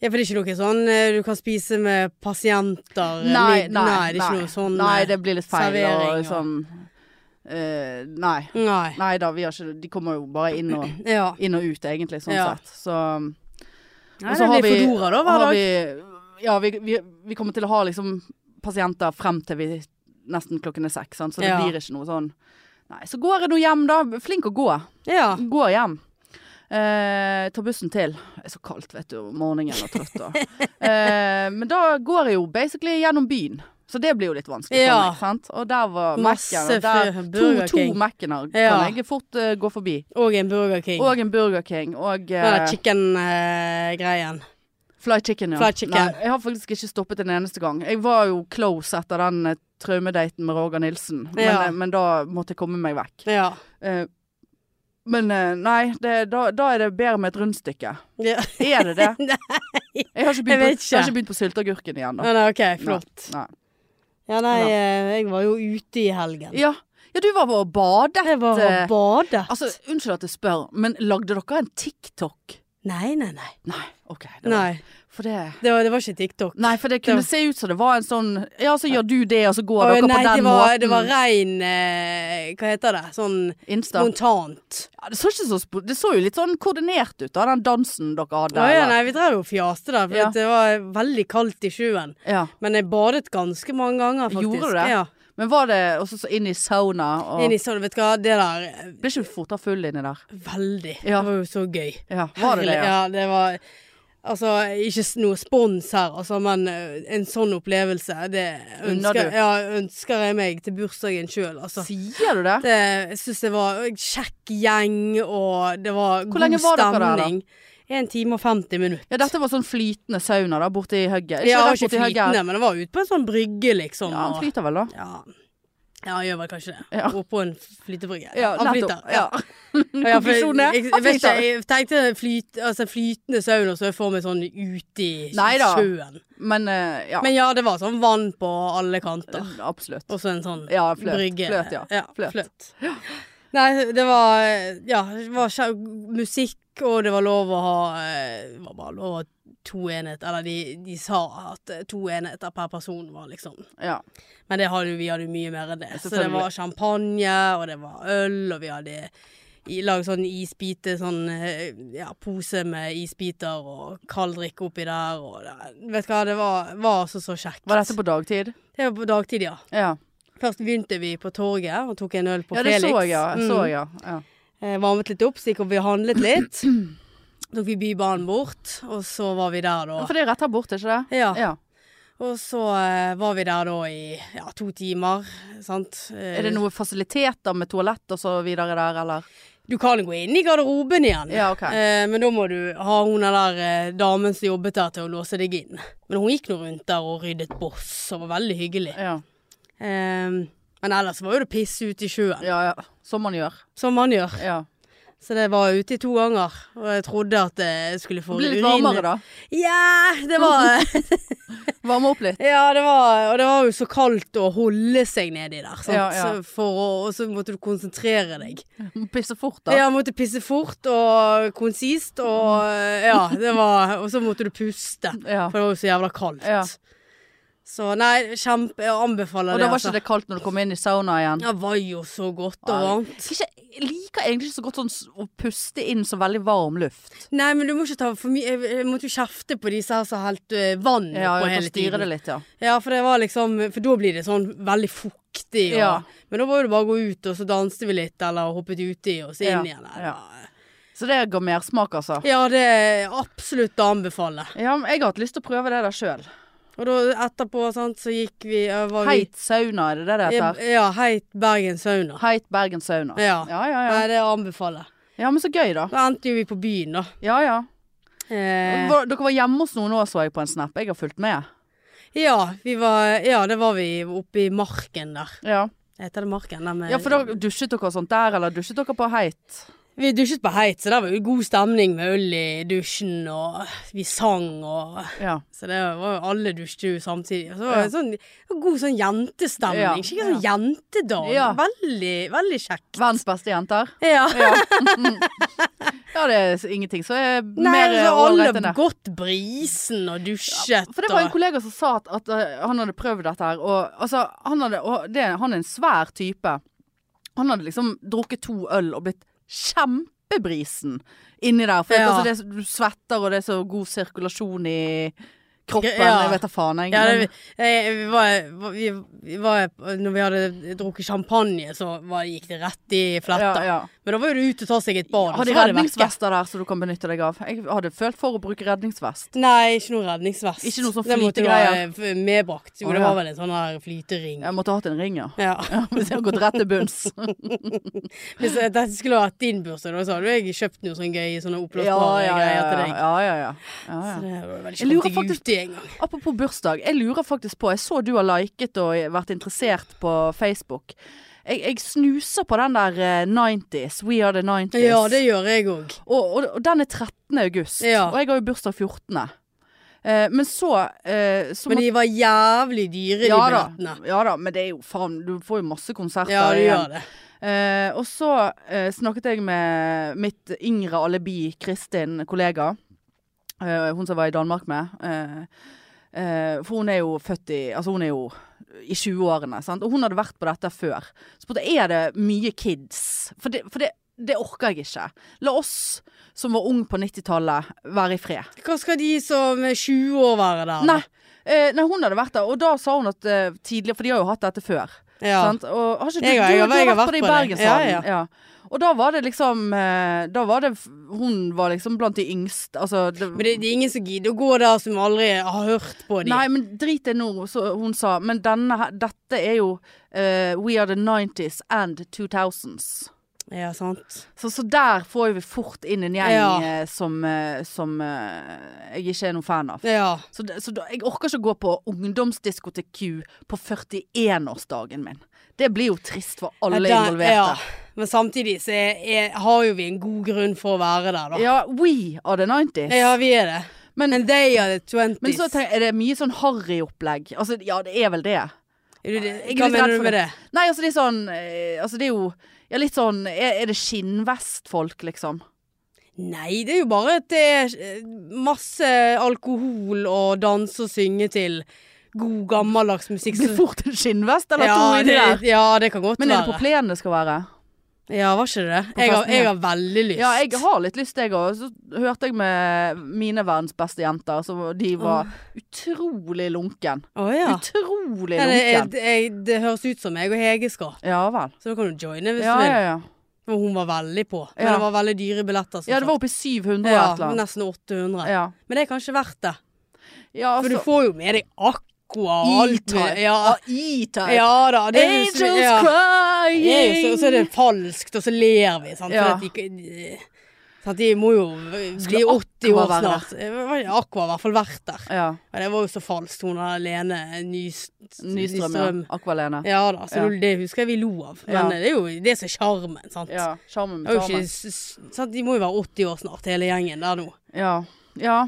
[SPEAKER 1] Ja, for det er ikke noe sånn eh, du kan spise med pasienter eh, mid- nei, det er ikke noe sånn
[SPEAKER 2] Nei,
[SPEAKER 1] eh,
[SPEAKER 2] det blir litt feil.
[SPEAKER 1] servering
[SPEAKER 2] Og, sånn, eh, nei.
[SPEAKER 1] Nei.
[SPEAKER 2] Nei da, vi har ikke De kommer jo bare inn og,
[SPEAKER 1] Ja.
[SPEAKER 2] inn og ut, egentlig, sånn
[SPEAKER 1] Ja.
[SPEAKER 2] sett. Så
[SPEAKER 1] Nei,
[SPEAKER 2] Og så
[SPEAKER 1] det
[SPEAKER 2] har
[SPEAKER 1] blir
[SPEAKER 2] vi-
[SPEAKER 1] Fodora da hver
[SPEAKER 2] har
[SPEAKER 1] dag.
[SPEAKER 2] Vi, ja, vi, vi, vi kommer til å ha liksom pasienter frem til vi nesten klokken er seks, sant? så det
[SPEAKER 1] Ja.
[SPEAKER 2] blir ikke noe sånn. Nei, så går jeg nå hjem da. Flink å gå.
[SPEAKER 1] Ja.
[SPEAKER 2] Går hjem. Eh, tar bussen til. Det er så kaldt, vet du, om morgenen og trøtt. da. eh, men da går jeg jo basically gjennom byen. Så det blir jo litt vanskelig. for
[SPEAKER 1] Ja.
[SPEAKER 2] meg, sant? Og der var
[SPEAKER 1] Masse
[SPEAKER 2] Mac-en. og der-
[SPEAKER 1] fri-
[SPEAKER 2] To,
[SPEAKER 1] Burger
[SPEAKER 2] to
[SPEAKER 1] King.
[SPEAKER 2] Mac-ener kan
[SPEAKER 1] Ja.
[SPEAKER 2] jeg fort eh, gå forbi.
[SPEAKER 1] Og en Burger King.
[SPEAKER 2] Og en Burger King. Og
[SPEAKER 1] Den
[SPEAKER 2] eh,
[SPEAKER 1] der eh, chicken-greien.
[SPEAKER 2] Fly chicken, ja.
[SPEAKER 1] Fly chicken.
[SPEAKER 2] Nei, jeg har faktisk ikke stoppet en eneste gang. Jeg var jo close etter den eh, traumedaten med Roger Nilsen, men,
[SPEAKER 1] Ja.
[SPEAKER 2] eh, men da måtte jeg komme meg vekk.
[SPEAKER 1] ja.
[SPEAKER 2] Eh, men eh, nei, det, da, da er det bedre med et rundstykke.
[SPEAKER 1] ja.
[SPEAKER 2] Er det det?
[SPEAKER 1] Nei.
[SPEAKER 2] Jeg har ikke
[SPEAKER 1] Jeg vet
[SPEAKER 2] begynt, på, jeg har
[SPEAKER 1] ikke.
[SPEAKER 2] ikke begynt på sylteagurken igjen, da.
[SPEAKER 1] Nei, nei, OK, flott.
[SPEAKER 2] Nei.
[SPEAKER 1] Ja, nei,
[SPEAKER 2] Ja.
[SPEAKER 1] eh, jeg var jo ute i helgen.
[SPEAKER 2] Ja. ja, du var på og badet.
[SPEAKER 1] Jeg var
[SPEAKER 2] eh,
[SPEAKER 1] og badet.
[SPEAKER 2] Altså, unnskyld at jeg spør, men lagde dere en TikTok?
[SPEAKER 1] Nei, nei, nei.
[SPEAKER 2] Nei, OK. det var-
[SPEAKER 1] Nei,
[SPEAKER 2] For det
[SPEAKER 1] det var, det var ikke TikTok.
[SPEAKER 2] Nei, for det kunne
[SPEAKER 1] Det-
[SPEAKER 2] se ut som det var en sånn Ja, så gjør du det, og så går
[SPEAKER 1] Å,
[SPEAKER 2] dere
[SPEAKER 1] nei,
[SPEAKER 2] på den
[SPEAKER 1] det var,
[SPEAKER 2] måten.
[SPEAKER 1] det var rein eh, Hva heter det? Sånn
[SPEAKER 2] Insta.
[SPEAKER 1] spontant.
[SPEAKER 2] Ja, det, så ikke så, sp- det så jo litt sånn koordinert ut av den dansen dere hadde.
[SPEAKER 1] Å, ja,
[SPEAKER 2] eller-
[SPEAKER 1] nei, vi drev jo og fjaste der, for
[SPEAKER 2] Ja.
[SPEAKER 1] at det var veldig kaldt i sjøen.
[SPEAKER 2] ja.
[SPEAKER 1] Men jeg badet ganske mange ganger, faktisk.
[SPEAKER 2] Gjorde du det?
[SPEAKER 1] Ja.
[SPEAKER 2] Men var det også så inn i sauna og
[SPEAKER 1] Inn i sånn, vet du hva, det der eh,
[SPEAKER 2] Ble ikke du fort av full inni der?
[SPEAKER 1] Veldig.
[SPEAKER 2] Ja.
[SPEAKER 1] Det var jo så gøy.
[SPEAKER 2] Ja, var det
[SPEAKER 1] Herlig.
[SPEAKER 2] det? Ja.
[SPEAKER 1] Ja, det var Altså, ikke s- noe spons her, altså, men eh, en sånn opplevelse, det
[SPEAKER 2] Unner
[SPEAKER 1] ønsker,
[SPEAKER 2] du?
[SPEAKER 1] ja, ønsker jeg meg til bursdagen sjøl, altså.
[SPEAKER 2] Sier du det?
[SPEAKER 1] Det, jeg syns det var en kjekk gjeng, og det var god
[SPEAKER 2] lenge var dere der, da?
[SPEAKER 1] stemning. En time og 50 minutter.
[SPEAKER 2] Ja, dette var sånn flytende sauna da, borte i hugget.
[SPEAKER 1] Ja,
[SPEAKER 2] rett
[SPEAKER 1] ikke
[SPEAKER 2] borte i hugget?
[SPEAKER 1] flytende, men det var ute på en sånn brygge, liksom.
[SPEAKER 2] Ja, han
[SPEAKER 1] og-
[SPEAKER 2] flyter vel da?
[SPEAKER 1] Ja. ja, han gjør vel kanskje det.
[SPEAKER 2] Ja.
[SPEAKER 1] Og på en flytebrygge.
[SPEAKER 2] Ja,
[SPEAKER 1] han
[SPEAKER 2] nettopp.
[SPEAKER 1] flyter.
[SPEAKER 2] Ja.
[SPEAKER 1] Ja, for jeg,
[SPEAKER 2] Konklusjonen er,
[SPEAKER 1] jeg,
[SPEAKER 2] han
[SPEAKER 1] vet ikke,
[SPEAKER 2] flyter.
[SPEAKER 1] jeg tenkte flyt, altså, flytende sauna, så jeg får meg sånn ute i
[SPEAKER 2] Neida.
[SPEAKER 1] sjøen.
[SPEAKER 2] Men eh, ja,
[SPEAKER 1] Men ja, det var sånn vann på alle kanter.
[SPEAKER 2] absolutt.
[SPEAKER 1] Og så en sånn
[SPEAKER 2] Ja, fløt.
[SPEAKER 1] brygge.
[SPEAKER 2] Fløt, ja.
[SPEAKER 1] ja
[SPEAKER 2] Fløt.
[SPEAKER 1] fløt. Nei, det var Ja, det var skje- musikk, og det var lov å ha eh, Det var bare lov å ha to enheter. Eller de, de sa at eh, to enheter per person var liksom
[SPEAKER 2] Ja.
[SPEAKER 1] Men det hadde, jo- vi hadde jo mye mer enn det. Så det
[SPEAKER 2] Selvfølgelig.
[SPEAKER 1] var champagne, og det var øl, og vi hadde i- lagd sånn isbite, sånn eh, ja, pose med isbiter og kald drikke oppi der, og det, Vet du hva, det var, var altså så kjekt.
[SPEAKER 2] Var dette på dagtid?
[SPEAKER 1] Det var på dagtid, ja.
[SPEAKER 2] Ja.
[SPEAKER 1] Først begynte vi på torget og tok en øl på
[SPEAKER 2] ja, det
[SPEAKER 1] Felix.
[SPEAKER 2] så jeg, ja. Så
[SPEAKER 1] Mm.
[SPEAKER 2] jeg, ja. ja.
[SPEAKER 1] Eh, varmet litt opp, så gikk vi og handlet litt. tok vi Bybanen bort, og så var vi der
[SPEAKER 2] Ja,
[SPEAKER 1] da.
[SPEAKER 2] For det er rett her borte, ikke det?
[SPEAKER 1] Ja,
[SPEAKER 2] Ja.
[SPEAKER 1] Og så eh, var vi der da i ja, to timer, sant. Eh,
[SPEAKER 2] Er det noen fasiliteter med toalett og så videre der, eller?
[SPEAKER 1] Du kan gå inn i garderoben igjen.
[SPEAKER 2] Ja, ok.
[SPEAKER 1] Eh, men da må du ha hun der eh, damen som jobbet der til å låse deg inn. Men hun gikk nå rundt der og ryddet boss, og var veldig hyggelig.
[SPEAKER 2] Ja,
[SPEAKER 1] Eh, men ellers var jo det piss ute i sjøen,
[SPEAKER 2] ja. ja. Som man gjør.
[SPEAKER 1] som man gjør.
[SPEAKER 2] Ja.
[SPEAKER 1] Så det var ute i to ganger, og jeg trodde at jeg skulle få
[SPEAKER 2] Bli litt
[SPEAKER 1] urin-
[SPEAKER 2] varmere, da.
[SPEAKER 1] Ja, det var
[SPEAKER 2] Varme opp litt.
[SPEAKER 1] Ja, det var, og det var jo så kaldt å holde seg nedi der, sant?
[SPEAKER 2] Ja, ja.
[SPEAKER 1] Så For å, og så måtte du konsentrere deg.
[SPEAKER 2] Pisse fort, da.
[SPEAKER 1] Ja, måtte pisse fort og konsist, og eh, ja, det var Og så måtte du puste,
[SPEAKER 2] Ja.
[SPEAKER 1] for det var jo så jævla kaldt.
[SPEAKER 2] Ja.
[SPEAKER 1] Så nei, kjempe Jeg anbefaler
[SPEAKER 2] Og
[SPEAKER 1] det, altså.
[SPEAKER 2] da var ikke det kaldt når du kom inn i sauna igjen?
[SPEAKER 1] Det var jo så godt og
[SPEAKER 2] Ja,
[SPEAKER 1] varmt.
[SPEAKER 2] Ikke, jeg liker egentlig ikke så godt sånn s- å puste inn så veldig varm luft.
[SPEAKER 1] Nei, men du må ikke ta for mye Jeg jeg måtte jo kjefte på disse her som helte eh, vann på
[SPEAKER 2] Ja, jeg kan
[SPEAKER 1] hele
[SPEAKER 2] styre
[SPEAKER 1] tiden.
[SPEAKER 2] det litt, ja.
[SPEAKER 1] Ja, for det var liksom For da blir det sånn veldig fuktig. Og,
[SPEAKER 2] Ja.
[SPEAKER 1] Men da var jo det bare å gå ut, og så danste vi litt, eller hoppet uti, og så
[SPEAKER 2] Ja,
[SPEAKER 1] inn igjen. Eller.
[SPEAKER 2] Så det ga mersmak, altså.
[SPEAKER 1] Ja, det er absolutt å anbefale.
[SPEAKER 2] Ja, men jeg har hatt lyst til å prøve det der sjøl.
[SPEAKER 1] Og da etterpå, sant, så gikk vi ja, var vi-
[SPEAKER 2] Heit sauna, er det det det heter?
[SPEAKER 1] Ja, Heit Bergen sauna.
[SPEAKER 2] Heit Bergen sauna.
[SPEAKER 1] Ja.
[SPEAKER 2] ja, ja. ja.
[SPEAKER 1] Nei, det anbefaler jeg.
[SPEAKER 2] Ja, men så gøy, da.
[SPEAKER 1] Da endte jo vi på byen, da.
[SPEAKER 2] Ja, ja.
[SPEAKER 1] Eh,
[SPEAKER 2] Var, dere var hjemme hos noen òg, så jeg på en snap. Jeg har fulgt med.
[SPEAKER 1] ja, vi var Ja, det var vi oppe i Marken der.
[SPEAKER 2] Ja,
[SPEAKER 1] Heter det Marken? Der med,
[SPEAKER 2] ja for da dusjet dere og sånt der, eller dusjet dere på heit?
[SPEAKER 1] Vi dusjet på Heit, så der var jo god stemning med øl i dusjen, og vi sang og
[SPEAKER 2] Ja.
[SPEAKER 1] Så det var jo alle dusjte jo samtidig. Og så var
[SPEAKER 2] Ja.
[SPEAKER 1] det sånn det var god sånn jentestemning.
[SPEAKER 2] Ja.
[SPEAKER 1] Skikkelig sånn jentedag.
[SPEAKER 2] Ja.
[SPEAKER 1] Veldig, veldig kjekt.
[SPEAKER 2] Verdens beste jenter.
[SPEAKER 1] Ja.
[SPEAKER 2] Ja. ja, det er ingenting som er
[SPEAKER 1] Nei,
[SPEAKER 2] mer eh,
[SPEAKER 1] så
[SPEAKER 2] ålreit enn
[SPEAKER 1] alle
[SPEAKER 2] det.
[SPEAKER 1] gått brisen og dusjet
[SPEAKER 2] For det var en
[SPEAKER 1] og
[SPEAKER 2] kollega som sa at, at eh, han hadde prøvd dette her, og altså han, hadde, og det, han er en svær type. Han hadde liksom drukket to øl og blitt kjempebrisen inni der. For
[SPEAKER 1] Ja.
[SPEAKER 2] altså, det, er så- du svetter, og det er så god sirkulasjon i kroppen.
[SPEAKER 1] Ja.
[SPEAKER 2] Jeg vet da faen, jeg.
[SPEAKER 1] ja, det,
[SPEAKER 2] men-
[SPEAKER 1] eh, vi, var, vi, vi var Når vi hadde drukket champagne, så var, gikk det rett i fletta.
[SPEAKER 2] ja, ja.
[SPEAKER 1] Men da var jo det ut og ta seg et bad.
[SPEAKER 2] Har
[SPEAKER 1] og
[SPEAKER 2] de
[SPEAKER 1] så var det vekke.
[SPEAKER 2] redningsvester der som du kan benytte deg av? Jeg hadde følt for å bruke redningsvest.
[SPEAKER 1] Nei, ikke noe redningsvest.
[SPEAKER 2] Ikke noe sånn
[SPEAKER 1] Det måtte du
[SPEAKER 2] flytegreier.
[SPEAKER 1] ha, eh, medbrakt. Jo,
[SPEAKER 2] Å,
[SPEAKER 1] det
[SPEAKER 2] ja.
[SPEAKER 1] var vel en sånn her flytering.
[SPEAKER 2] Jeg måtte hatt en ring, ja.
[SPEAKER 1] Ja.
[SPEAKER 2] Hvis jeg hadde gått rett til bunns.
[SPEAKER 1] Hvis jeg- dette skulle ha vært din bursdag, da så hadde jeg kjøpt noe sånn gøy sånne oppblåsbare greier til deg.
[SPEAKER 2] ja, ja, ja. ja,
[SPEAKER 1] Så
[SPEAKER 2] ja.
[SPEAKER 1] det var vel
[SPEAKER 2] Jeg
[SPEAKER 1] ikke
[SPEAKER 2] lurer
[SPEAKER 1] kommet deg
[SPEAKER 2] faktisk-
[SPEAKER 1] uti engang.
[SPEAKER 2] Apropos bursdag, jeg lurer faktisk på Jeg så du har liket og vært interessert på Facebook. Jeg, jeg snuser på den der eh, 90s. We are the 90s.
[SPEAKER 1] Ja, det gjør jeg òg.
[SPEAKER 2] og, og, og den er 13. august.
[SPEAKER 1] Ja.
[SPEAKER 2] Og jeg har jo bursdag 14. Eh, men så, eh, så
[SPEAKER 1] Men
[SPEAKER 2] måtte-
[SPEAKER 1] de var jævlig dyre,
[SPEAKER 2] ja,
[SPEAKER 1] de
[SPEAKER 2] da,
[SPEAKER 1] billettene.
[SPEAKER 2] ja da, men det er jo faen Du får jo masse konserter
[SPEAKER 1] Ja, de
[SPEAKER 2] igjen.
[SPEAKER 1] gjør det.
[SPEAKER 2] Eh, og så eh, snakket jeg med mitt yngre alibi, Kristin, kollega. Eh, hun som jeg var i Danmark med. Eh, eh, for hun er jo født i Altså, hun er jo i 20-årene, sant. Og hun hadde vært på dette før. Så spurte jeg, er det mye kids. For det, for det, det orker jeg ikke. La oss som var ung på 90-tallet, være i fred.
[SPEAKER 1] Hva skal de som er 20 år være der? da?
[SPEAKER 2] Nei. Eh, nei, hun hadde vært der, og da sa hun at eh, tidligere For de har jo hatt dette før.
[SPEAKER 1] Ja.
[SPEAKER 2] Sant? Og har ikke du,
[SPEAKER 1] Jeg har-
[SPEAKER 2] du,
[SPEAKER 1] jeg har-
[SPEAKER 2] du har
[SPEAKER 1] jeg
[SPEAKER 2] vært på det i Bergenshallen?
[SPEAKER 1] Ja,
[SPEAKER 2] Ja. Og da var det liksom eh, Da var det f- Hun var liksom blant de yngste. Altså det,
[SPEAKER 1] Men det, det er ingen som gidder å gå der som aldri har hørt på de.
[SPEAKER 2] Nei, men drit det nå, så hun sa. Men denne her Dette er jo eh, We are the 90s and 2000s.
[SPEAKER 1] Ja, sant.
[SPEAKER 2] Så, så der får vi fort inn en gjeng
[SPEAKER 1] Ja.
[SPEAKER 2] eh, som, eh, som eh, jeg ikke er noen fan av.
[SPEAKER 1] Ja.
[SPEAKER 2] Så, det, så da, jeg orker ikke gå på ungdomsdiskotek-Q på 41-årsdagen min. Det blir jo trist for alle
[SPEAKER 1] Ja, der-
[SPEAKER 2] involverte.
[SPEAKER 1] Ja. Men samtidig så er, er, har jo vi en god grunn for å være der, da. Ja,
[SPEAKER 2] Ja, we are the 90s.
[SPEAKER 1] vi er det.
[SPEAKER 2] Men-
[SPEAKER 1] And they are the 20s.
[SPEAKER 2] Men så tenker, jeg, er det mye sånn harry-opplegg. Altså, ja, det er vel det.
[SPEAKER 1] Er du,
[SPEAKER 2] Jeg er
[SPEAKER 1] hva
[SPEAKER 2] litt redd
[SPEAKER 1] mener
[SPEAKER 2] for
[SPEAKER 1] du med det?
[SPEAKER 2] Nei, altså det er sånn eh, Altså det er jo ja, litt sånn Er, er det skinnvestfolk, liksom?
[SPEAKER 1] Nei, det er jo bare at det er eh, masse alkohol og danse og synge til god gammeldags musikk.
[SPEAKER 2] Blir fort en skinnvest eller
[SPEAKER 1] ja,
[SPEAKER 2] to inni
[SPEAKER 1] det,
[SPEAKER 2] der.
[SPEAKER 1] ja, det kan godt
[SPEAKER 2] Men er det på
[SPEAKER 1] være.
[SPEAKER 2] plenen det skal være?
[SPEAKER 1] Ja, var ikke det det?
[SPEAKER 2] På
[SPEAKER 1] Jeg har,
[SPEAKER 2] festen, ja.
[SPEAKER 1] jeg har veldig lyst.
[SPEAKER 2] Ja, jeg har litt lyst, jeg òg. Så hørte jeg med mine verdens beste jenter, så de var utrolig lunken.
[SPEAKER 1] Å, ja.
[SPEAKER 2] Utrolig
[SPEAKER 1] Ja, det, jeg,
[SPEAKER 2] lunken.
[SPEAKER 1] jeg, det høres ut som meg og Hege skal.
[SPEAKER 2] Ja vel.
[SPEAKER 1] Så da kan du joine hvis
[SPEAKER 2] Ja,
[SPEAKER 1] du vil.
[SPEAKER 2] ja, ja.
[SPEAKER 1] For hun var veldig på. Men
[SPEAKER 2] Ja.
[SPEAKER 1] det var veldig dyre billetter. som
[SPEAKER 2] ja det var
[SPEAKER 1] sagt.
[SPEAKER 2] oppe i 700 og
[SPEAKER 1] ja,
[SPEAKER 2] et eller annet.
[SPEAKER 1] nesten 800.
[SPEAKER 2] Ja.
[SPEAKER 1] Men det er kanskje verdt det.
[SPEAKER 2] ja,
[SPEAKER 1] For
[SPEAKER 2] altså
[SPEAKER 1] du får jo med deg Aqua og alt. Ah,
[SPEAKER 2] E-type.
[SPEAKER 1] mulig. Ja,
[SPEAKER 2] E-type.
[SPEAKER 1] ja da. Det er jo så-
[SPEAKER 2] Angels
[SPEAKER 1] ja.
[SPEAKER 2] crying.
[SPEAKER 1] Det er jo så, så er det falskt, og så ler vi. Sant?
[SPEAKER 2] Ja.
[SPEAKER 1] For at de, ikke- de- sant? de må jo bli 80
[SPEAKER 2] Aqua
[SPEAKER 1] år
[SPEAKER 2] være
[SPEAKER 1] snart. Var ikke Aqua i hvert fall vært der.
[SPEAKER 2] Ja.
[SPEAKER 1] Men det var jo så falskt. Hun der Lene Nys-
[SPEAKER 2] Nystrøm, ja.
[SPEAKER 1] Nystrøm.
[SPEAKER 2] Aqualene.
[SPEAKER 1] Ja da, så
[SPEAKER 2] Ja.
[SPEAKER 1] det husker jeg vi lo av. Men eh,
[SPEAKER 2] Ja.
[SPEAKER 1] det er jo det som er sjarmen, sant.
[SPEAKER 2] Ja. Sjarmen
[SPEAKER 1] Det er jo
[SPEAKER 2] med
[SPEAKER 1] ikke,
[SPEAKER 2] sjarmen.
[SPEAKER 1] s- s- sant? De må jo være 80 år snart, hele gjengen der nå.
[SPEAKER 2] Ja. ja.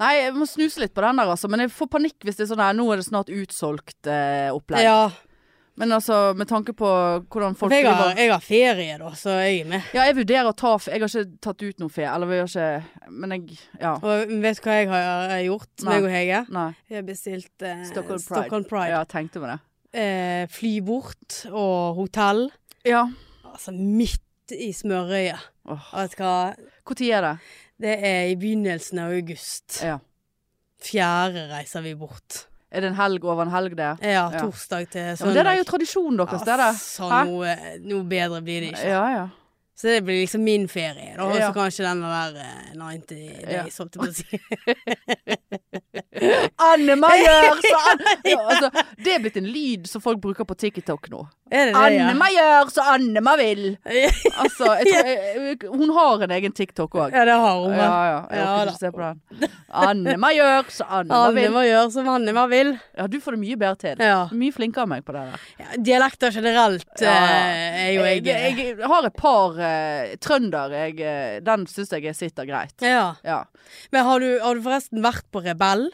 [SPEAKER 2] Nei, jeg må snuse litt på den der, altså. Men jeg får panikk hvis det er sånn her Nå er det snart utsolgt eh, opplegg.
[SPEAKER 1] Ja,
[SPEAKER 2] Men altså, med tanke på hvordan
[SPEAKER 1] for
[SPEAKER 2] folk
[SPEAKER 1] jeg har,
[SPEAKER 2] driver
[SPEAKER 1] jeg har ferie, da, så jeg er med.
[SPEAKER 2] Ja, jeg vurderer å ta fe- Jeg har ikke tatt ut noe fe. Eller vi har ikke Men jeg Ja.
[SPEAKER 1] Og mm, vet du hva jeg har eh, gjort,
[SPEAKER 2] Nei.
[SPEAKER 1] meg og Hege?
[SPEAKER 2] Nei.
[SPEAKER 1] Vi har bestilt eh,
[SPEAKER 2] Stockholm Pride.
[SPEAKER 1] Stockholm Pride.
[SPEAKER 2] Ja, jeg tenkte på det.
[SPEAKER 1] eh, fly bort og hotell.
[SPEAKER 2] Ja.
[SPEAKER 1] Altså midt i smørøyet.
[SPEAKER 2] Åh.
[SPEAKER 1] Og Vet du hva?
[SPEAKER 2] Hvor tid er det?
[SPEAKER 1] Det er i begynnelsen av august.
[SPEAKER 2] Ja.
[SPEAKER 1] Fjerde reiser vi bort.
[SPEAKER 2] Er det en helg over en helg, det?
[SPEAKER 1] Ja,
[SPEAKER 2] Ja.
[SPEAKER 1] torsdag til
[SPEAKER 2] Ja, men det
[SPEAKER 1] søndag.
[SPEAKER 2] der er jo tradisjonen deres, det er det.
[SPEAKER 1] Altså,
[SPEAKER 2] Hæ?
[SPEAKER 1] noe, noe bedre blir det ikke.
[SPEAKER 2] Ja, ja.
[SPEAKER 1] Så det blir liksom min ferie, da. Og så
[SPEAKER 2] Ja.
[SPEAKER 1] kanskje den der eh, 90 days, holdt jeg på å si.
[SPEAKER 2] Anne Maier! Så Anne, ja, altså, det er blitt en lyd som folk bruker på TikTok nå.
[SPEAKER 1] Er det det,
[SPEAKER 2] Anne Maier, så Anne Ma vil!
[SPEAKER 1] ja?
[SPEAKER 2] Altså, jeg tror, jeg, jeg- hun har en egen TikTok òg.
[SPEAKER 1] ja, det har hun. vel.
[SPEAKER 2] Ja, ja. Jeg
[SPEAKER 1] Ja,
[SPEAKER 2] orker
[SPEAKER 1] da.
[SPEAKER 2] ikke se på den. Anne Maier, så Anne Ma
[SPEAKER 1] Anne
[SPEAKER 2] vil.
[SPEAKER 1] må gjøre som Anne hva vil.
[SPEAKER 2] Ja, du får det mye bedre til.
[SPEAKER 1] Ja.
[SPEAKER 2] Mye flinkere enn meg på det der.
[SPEAKER 1] Ja, Dialekter generelt
[SPEAKER 2] Ja, ja.
[SPEAKER 1] eh, er jo jeg,
[SPEAKER 2] jeg, jeg har et par eh, trønder. Jeg, eh, den syns jeg sitter greit.
[SPEAKER 1] Ja.
[SPEAKER 2] Ja.
[SPEAKER 1] Men har du, har du forresten vært på Rebell?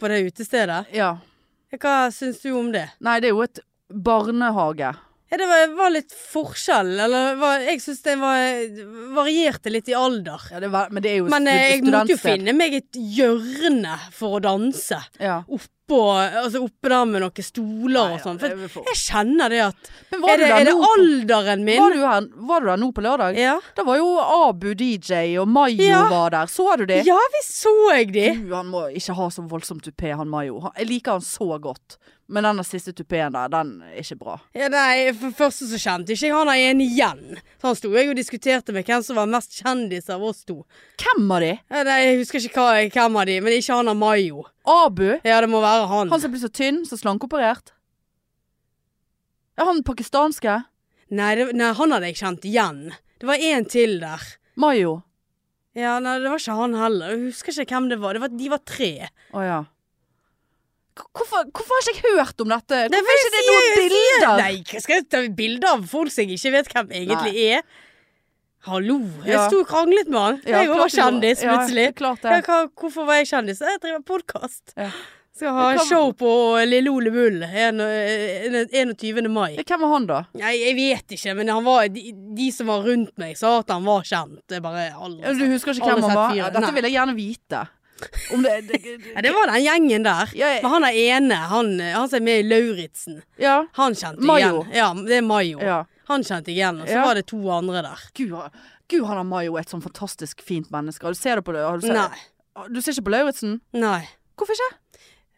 [SPEAKER 1] På det utestedet?
[SPEAKER 2] ja.
[SPEAKER 1] Hva syns du om det?
[SPEAKER 2] Nei, det er jo et barnehage.
[SPEAKER 1] Ja, det var, var litt forskjell, eller var, jeg syns det var, varierte litt i alder.
[SPEAKER 2] Ja, det var, men det er jo
[SPEAKER 1] Men eh, jeg
[SPEAKER 2] stud-
[SPEAKER 1] måtte jo
[SPEAKER 2] studentsted.
[SPEAKER 1] finne meg et hjørne for å danse.
[SPEAKER 2] Ja.
[SPEAKER 1] Oppå, altså oppe der med noen stoler
[SPEAKER 2] Nei,
[SPEAKER 1] og sånn.
[SPEAKER 2] ja,
[SPEAKER 1] For
[SPEAKER 2] det er for-
[SPEAKER 1] jeg kjenner det at
[SPEAKER 2] Men
[SPEAKER 1] Er det, er det alderen
[SPEAKER 2] Var
[SPEAKER 1] min?
[SPEAKER 2] du, her, var du her nå på lørdag?
[SPEAKER 1] Ja.
[SPEAKER 2] Da var jo Abu DJ og Mayo
[SPEAKER 1] Ja.
[SPEAKER 2] var der. Så du det?
[SPEAKER 1] ja, vi så jeg de.
[SPEAKER 2] Du, han må ikke ha så voldsom tupé, han Mayo. Han- Jeg liker han så godt. Men den siste tupeen der, den er ikke bra.
[SPEAKER 1] Ja, nei, for det første så kjente ikke jeg han der ene igjen. Så han sto jeg og diskuterte med hvem som var mest kjendis av oss to.
[SPEAKER 2] Hvem av de?
[SPEAKER 1] Ja, Nei, jeg husker ikke hva, hvem av de, men ikke han av Mayo.
[SPEAKER 2] Abu?
[SPEAKER 1] Ja, det må være han.
[SPEAKER 2] Han som ble så tynn, så slankeoperert? Ja, han pakistanske?
[SPEAKER 1] Nei, det, nei, han hadde jeg kjent igjen. Det var en til der.
[SPEAKER 2] Mayo?
[SPEAKER 1] Ja, nei, det var ikke han heller. Jeg husker ikke hvem det var. Det var de var tre.
[SPEAKER 2] Å ja. K- Hvorfor, hvorfor har ikke jeg hørt om dette?
[SPEAKER 1] Det
[SPEAKER 2] Hvorfor er ikke det noen bilder?
[SPEAKER 1] Nei, hva skal jeg ta bilder av folk som jeg ikke vet hvem egentlig er? Hallo. Jeg
[SPEAKER 2] Ja.
[SPEAKER 1] sto og kranglet med han.
[SPEAKER 2] Ja,
[SPEAKER 1] jeg
[SPEAKER 2] klart
[SPEAKER 1] var
[SPEAKER 2] du må-
[SPEAKER 1] kjendis
[SPEAKER 2] ja,
[SPEAKER 1] plutselig.
[SPEAKER 2] klart
[SPEAKER 1] Ja,
[SPEAKER 2] det.
[SPEAKER 1] hva, hvorfor var jeg kjendis? Jeg driver podkast.
[SPEAKER 2] Ja.
[SPEAKER 1] Skal ha
[SPEAKER 2] Hva-
[SPEAKER 1] show på eh, Lille Ole Bull en- eh, en- 21. mai.
[SPEAKER 2] Ja, Hvem var han, da?
[SPEAKER 1] Nei, jeg vet ikke, men han var, de, de som var rundt meg, sa at han var kjent. Jeg bare
[SPEAKER 2] Ja,
[SPEAKER 1] aldri
[SPEAKER 2] Du husker ikke
[SPEAKER 1] Alle
[SPEAKER 2] hvem han
[SPEAKER 1] sett
[SPEAKER 2] var?
[SPEAKER 1] fyren,
[SPEAKER 2] Ja, dette
[SPEAKER 1] nei.
[SPEAKER 2] vil jeg gjerne vite. Om det, det,
[SPEAKER 1] ja, Det var den gjengen der.
[SPEAKER 2] Ja, jeg-
[SPEAKER 1] Men han er ene, han, han som er med i Lauritzen,
[SPEAKER 2] ja,
[SPEAKER 1] han kjente
[SPEAKER 2] Mayo.
[SPEAKER 1] igjen. Ja, det er Mayo.
[SPEAKER 2] ja.
[SPEAKER 1] Han kjente igjen, og så
[SPEAKER 2] Ja.
[SPEAKER 1] var det to andre der.
[SPEAKER 2] Gud, han- Gud, han har Mayo er et sånn fantastisk fint menneske. Har Du ser det på det? Har du, sett-
[SPEAKER 1] Nei.
[SPEAKER 2] du ser ikke på Lauritzen?
[SPEAKER 1] Nei.
[SPEAKER 2] Hvorfor ikke?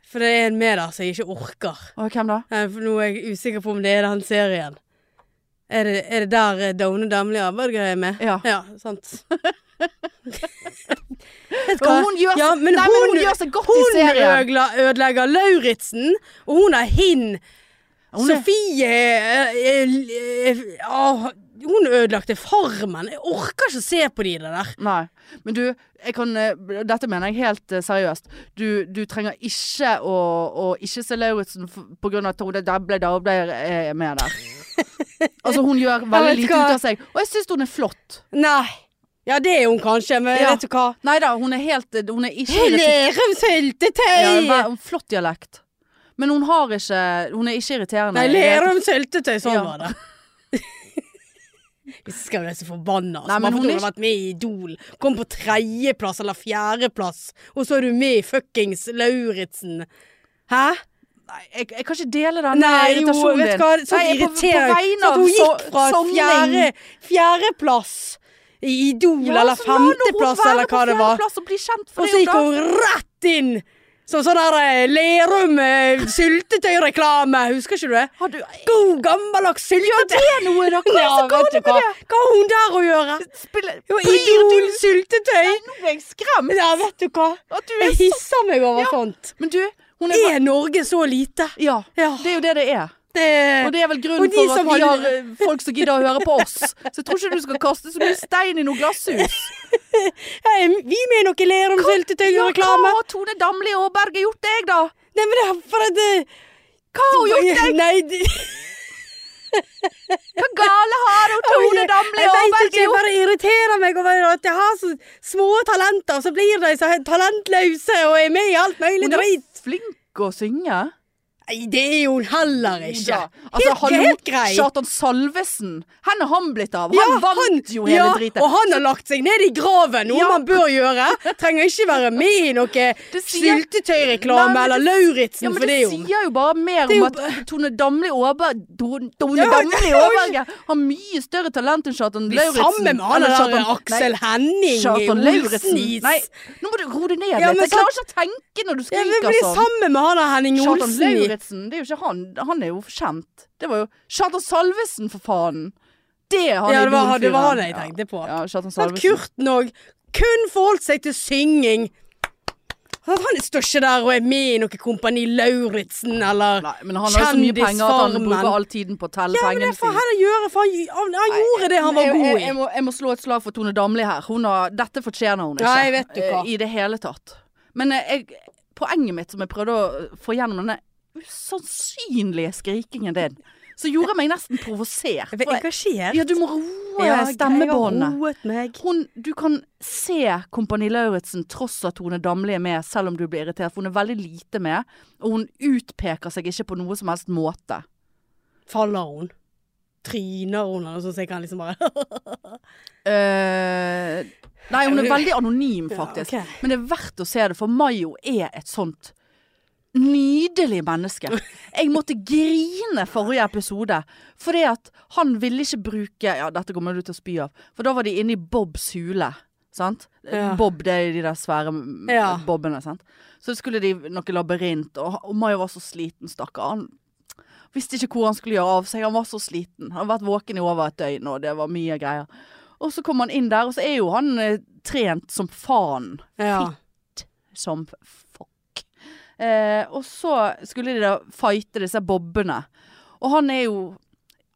[SPEAKER 1] For det er en med der som jeg ikke orker.
[SPEAKER 2] Å, hvem da?
[SPEAKER 1] Nei, for Nå er jeg usikker på om det er den serien. Er det, er det der eh, Daune Damli Aberger er med?
[SPEAKER 2] Ja.
[SPEAKER 1] ja sant. Vet
[SPEAKER 2] Og hun gjør,
[SPEAKER 1] Ja,
[SPEAKER 2] seg-
[SPEAKER 1] men
[SPEAKER 2] nei, men hun gjør seg godt i
[SPEAKER 1] Hun
[SPEAKER 2] serien.
[SPEAKER 1] ødela, ødelegger Lauritzen, og hun er hin.
[SPEAKER 2] Hun er-
[SPEAKER 1] Sofie eh, eh, eh, ah, Hun ødelagte Farmen. Jeg orker ikke å se på de der.
[SPEAKER 2] Nei. Men du, jeg kan, eh, dette mener jeg helt eh, seriøst. Du, du trenger ikke å, å ikke se Lauritzen f- på grunn av at hun der ble, der ble eh, med der. Altså, hun gjør veldig
[SPEAKER 1] vet
[SPEAKER 2] lite
[SPEAKER 1] hva.
[SPEAKER 2] ut av seg. Og jeg syns hun er flott.
[SPEAKER 1] Nei. Ja, det er hun kanskje, men
[SPEAKER 2] Ja.
[SPEAKER 1] vet du hva?
[SPEAKER 2] Nei da, eh, hun er helt Hun er ikke
[SPEAKER 1] Hun er en syltetøy!
[SPEAKER 2] Ja, hun har en flott dialekt. Men hun har ikke Hun er ikke irriterende.
[SPEAKER 1] Nei, ler om syltetøy. Sånn
[SPEAKER 2] Ja.
[SPEAKER 1] var det. Jeg skal jo være så forbanna.
[SPEAKER 2] Nei,
[SPEAKER 1] Altså. Bare
[SPEAKER 2] men
[SPEAKER 1] fordi
[SPEAKER 2] hun
[SPEAKER 1] hun har vært med i Idol. Kom på tredjeplass eller fjerdeplass, og så er du med i fuckings Lauritzen. Hæ?
[SPEAKER 2] Nei, jeg, jeg kan ikke dele den eh,
[SPEAKER 1] Nei, jo,
[SPEAKER 2] irritasjonen
[SPEAKER 1] vet du hva. Så
[SPEAKER 2] Nei, jeg er på- på
[SPEAKER 1] irriterende.
[SPEAKER 2] vegne
[SPEAKER 1] Så
[SPEAKER 2] av
[SPEAKER 1] at hun
[SPEAKER 2] så- sånn
[SPEAKER 1] gikk fra
[SPEAKER 2] Sonning.
[SPEAKER 1] fjerde, fjerdeplass i Idol,
[SPEAKER 2] Ja,
[SPEAKER 1] eller
[SPEAKER 2] så la nå hun
[SPEAKER 1] femteplass,
[SPEAKER 2] være
[SPEAKER 1] eller
[SPEAKER 2] på
[SPEAKER 1] hva det var.
[SPEAKER 2] fjerdeplass Og bli kjent for
[SPEAKER 1] Og
[SPEAKER 2] det,
[SPEAKER 1] så gikk
[SPEAKER 2] da.
[SPEAKER 1] hun rett inn! Som sånn her eh, Lerum eh, syltetøyreklame. Husker ikke du det?
[SPEAKER 2] Har du
[SPEAKER 1] God gammeldags syltetøy!
[SPEAKER 2] Det er noe, da! Hva er
[SPEAKER 1] Ja,
[SPEAKER 2] det så
[SPEAKER 1] vet
[SPEAKER 2] galt
[SPEAKER 1] du
[SPEAKER 2] med
[SPEAKER 1] hva?
[SPEAKER 2] det?
[SPEAKER 1] Hva har hun der å gjøre?
[SPEAKER 2] Spiller
[SPEAKER 1] Jo,
[SPEAKER 2] Blir du
[SPEAKER 1] Idol syltetøy!
[SPEAKER 2] Nei, nå ble jeg skremt!
[SPEAKER 1] Ja, vet du hva?
[SPEAKER 2] At du
[SPEAKER 1] Jeg
[SPEAKER 2] er så
[SPEAKER 1] hisser meg over
[SPEAKER 2] Ja.
[SPEAKER 1] sånt.
[SPEAKER 2] Men du, hun er
[SPEAKER 1] Er Norge så lite?
[SPEAKER 2] Ja.
[SPEAKER 1] Ja.
[SPEAKER 2] Det er jo det det er.
[SPEAKER 1] Det,
[SPEAKER 2] Og det er vel
[SPEAKER 1] Og
[SPEAKER 2] grunnen
[SPEAKER 1] de
[SPEAKER 2] for at
[SPEAKER 1] som
[SPEAKER 2] vi
[SPEAKER 1] hadde-
[SPEAKER 2] har eh, folk som gidder å høre på oss. Så jeg tror ikke du skal kaste så mye stein i noe glasshus.
[SPEAKER 1] Hei, vi med i noe Lerum
[SPEAKER 2] Ja, hva
[SPEAKER 1] syltetøyreklame?
[SPEAKER 2] har Tone Damli Aaberge gjort deg, da?
[SPEAKER 1] Nei, men det er for at det-
[SPEAKER 2] Hva har hun gjort deg?
[SPEAKER 1] Nei, det-
[SPEAKER 2] Hva gale har hun Tone Damli
[SPEAKER 1] Jeg vet ikke,
[SPEAKER 2] Aaberge
[SPEAKER 1] jeg
[SPEAKER 2] gjort?
[SPEAKER 1] bare irriterer meg over at jeg har så små talenter, og så blir de så talentløse og er med i alt mulig
[SPEAKER 2] Hun er
[SPEAKER 1] drit.
[SPEAKER 2] flink å synge.
[SPEAKER 1] Nei, det er jo hun heller ikke.
[SPEAKER 2] Ja, Altså,
[SPEAKER 1] helt,
[SPEAKER 2] hallo,
[SPEAKER 1] helt grei.
[SPEAKER 2] Kjartan Salvesen. Hvor er han blitt av? Han
[SPEAKER 1] Ja,
[SPEAKER 2] vant jo hele
[SPEAKER 1] ja,
[SPEAKER 2] dritet.
[SPEAKER 1] Og han har lagt seg ned i graven, noe
[SPEAKER 2] Ja.
[SPEAKER 1] man bør gjøre. Trenger ikke være med i noe
[SPEAKER 2] Det sier- Nei,
[SPEAKER 1] syltetøyreklame
[SPEAKER 2] men
[SPEAKER 1] eller
[SPEAKER 2] det-
[SPEAKER 1] Lauritzen,
[SPEAKER 2] Ja, men
[SPEAKER 1] for det
[SPEAKER 2] det
[SPEAKER 1] er jo
[SPEAKER 2] sier jo bare mer
[SPEAKER 1] Det er
[SPEAKER 2] om
[SPEAKER 1] jo
[SPEAKER 2] at Tone Damli Aaberge Tone Tone
[SPEAKER 1] Ja,
[SPEAKER 2] Damli
[SPEAKER 1] det-
[SPEAKER 2] Aaberge har mye større talent enn Kjartan
[SPEAKER 1] De er
[SPEAKER 2] Lauritzen.
[SPEAKER 1] Sammen med han
[SPEAKER 2] Eller
[SPEAKER 1] der
[SPEAKER 2] Kjartan-
[SPEAKER 1] Aksel
[SPEAKER 2] nei,
[SPEAKER 1] Henning
[SPEAKER 2] Kjartan Lauritzen.
[SPEAKER 1] Olsen-is.
[SPEAKER 2] Nei, nå må du roe deg ned litt.
[SPEAKER 1] Ja, men
[SPEAKER 2] jeg
[SPEAKER 1] så-
[SPEAKER 2] klarer ikke å tenke når du
[SPEAKER 1] Ja, men
[SPEAKER 2] skriker
[SPEAKER 1] blir
[SPEAKER 2] sånn.
[SPEAKER 1] sammen med han der Henning
[SPEAKER 2] Kjartan
[SPEAKER 1] Olsen-is.
[SPEAKER 2] Lauritzen, det er jo ikke han. Han er jo kjent. Det var jo Kjartan Salvesen, for faen. Det er han
[SPEAKER 1] Ja, det var,
[SPEAKER 2] Idol-fyren.
[SPEAKER 1] det var han jeg
[SPEAKER 2] Ja.
[SPEAKER 1] tenkte på.
[SPEAKER 2] Ja, Kjartan
[SPEAKER 1] Sånn at
[SPEAKER 2] Salvesen.
[SPEAKER 1] Kurten òg kun forholdt seg til synging. Sånn at Han står ikke der og er med i noe Kompani Lauritzen eller
[SPEAKER 2] Nei, men han har jo så mye penger at han
[SPEAKER 1] Kjendisfarmen.
[SPEAKER 2] bruker all tiden på å telle
[SPEAKER 1] Ja, men
[SPEAKER 2] pengene
[SPEAKER 1] det får han heller gjøre, for han, han, han gjorde det han var
[SPEAKER 2] jeg,
[SPEAKER 1] god
[SPEAKER 2] jeg,
[SPEAKER 1] i.
[SPEAKER 2] jeg, må, jeg må slå et slag for Tone Damli her. Hun har, dette fortjener hun ikke.
[SPEAKER 1] Nei, vet du hva.
[SPEAKER 2] eh, I det hele tatt. Men eh, jeg, poenget mitt som jeg prøvde å få gjennom denne usannsynlige skrikingen din, så gjorde meg nesten provosert.
[SPEAKER 1] Jeg ble
[SPEAKER 2] For-
[SPEAKER 1] engasjert.
[SPEAKER 2] Ja, du må roe stemmebåndet. Hun, du kan se Kompani Lauritzen tross at Tone Damli er med, selv om du blir irritert. For hun er veldig lite med, og hun utpeker seg ikke på noe som helst måte.
[SPEAKER 1] Faller hun? Tryner hun eller noe sånt, så jeg kan liksom bare
[SPEAKER 2] Eh, nei, hun er veldig anonym,
[SPEAKER 1] Ja,
[SPEAKER 2] faktisk.
[SPEAKER 1] ok.
[SPEAKER 2] Men det er verdt å se det, for Mayo er et sånt nydelig menneske. Jeg måtte grine forrige episode, fordi at han ville ikke bruke Ja, dette kommer du til å spy av. For da var de inne i Bobs hule. Sant?
[SPEAKER 1] Ja.
[SPEAKER 2] Bob, det er de der svære mm,
[SPEAKER 1] Ja.
[SPEAKER 2] bobbene, sant. Så skulle de noe labyrint, og, og Mayo var så sliten, stakkar. Han Visste ikke hvor han skulle gjøre av seg. Han var så sliten. Han har vært våken i over et døgn, og det var mye greier. Og så kom han inn der, og så er jo han eh, trent som faen.
[SPEAKER 1] ja.
[SPEAKER 2] Som fuck. Eh, og så skulle de da fighte disse bobbene. Og han er jo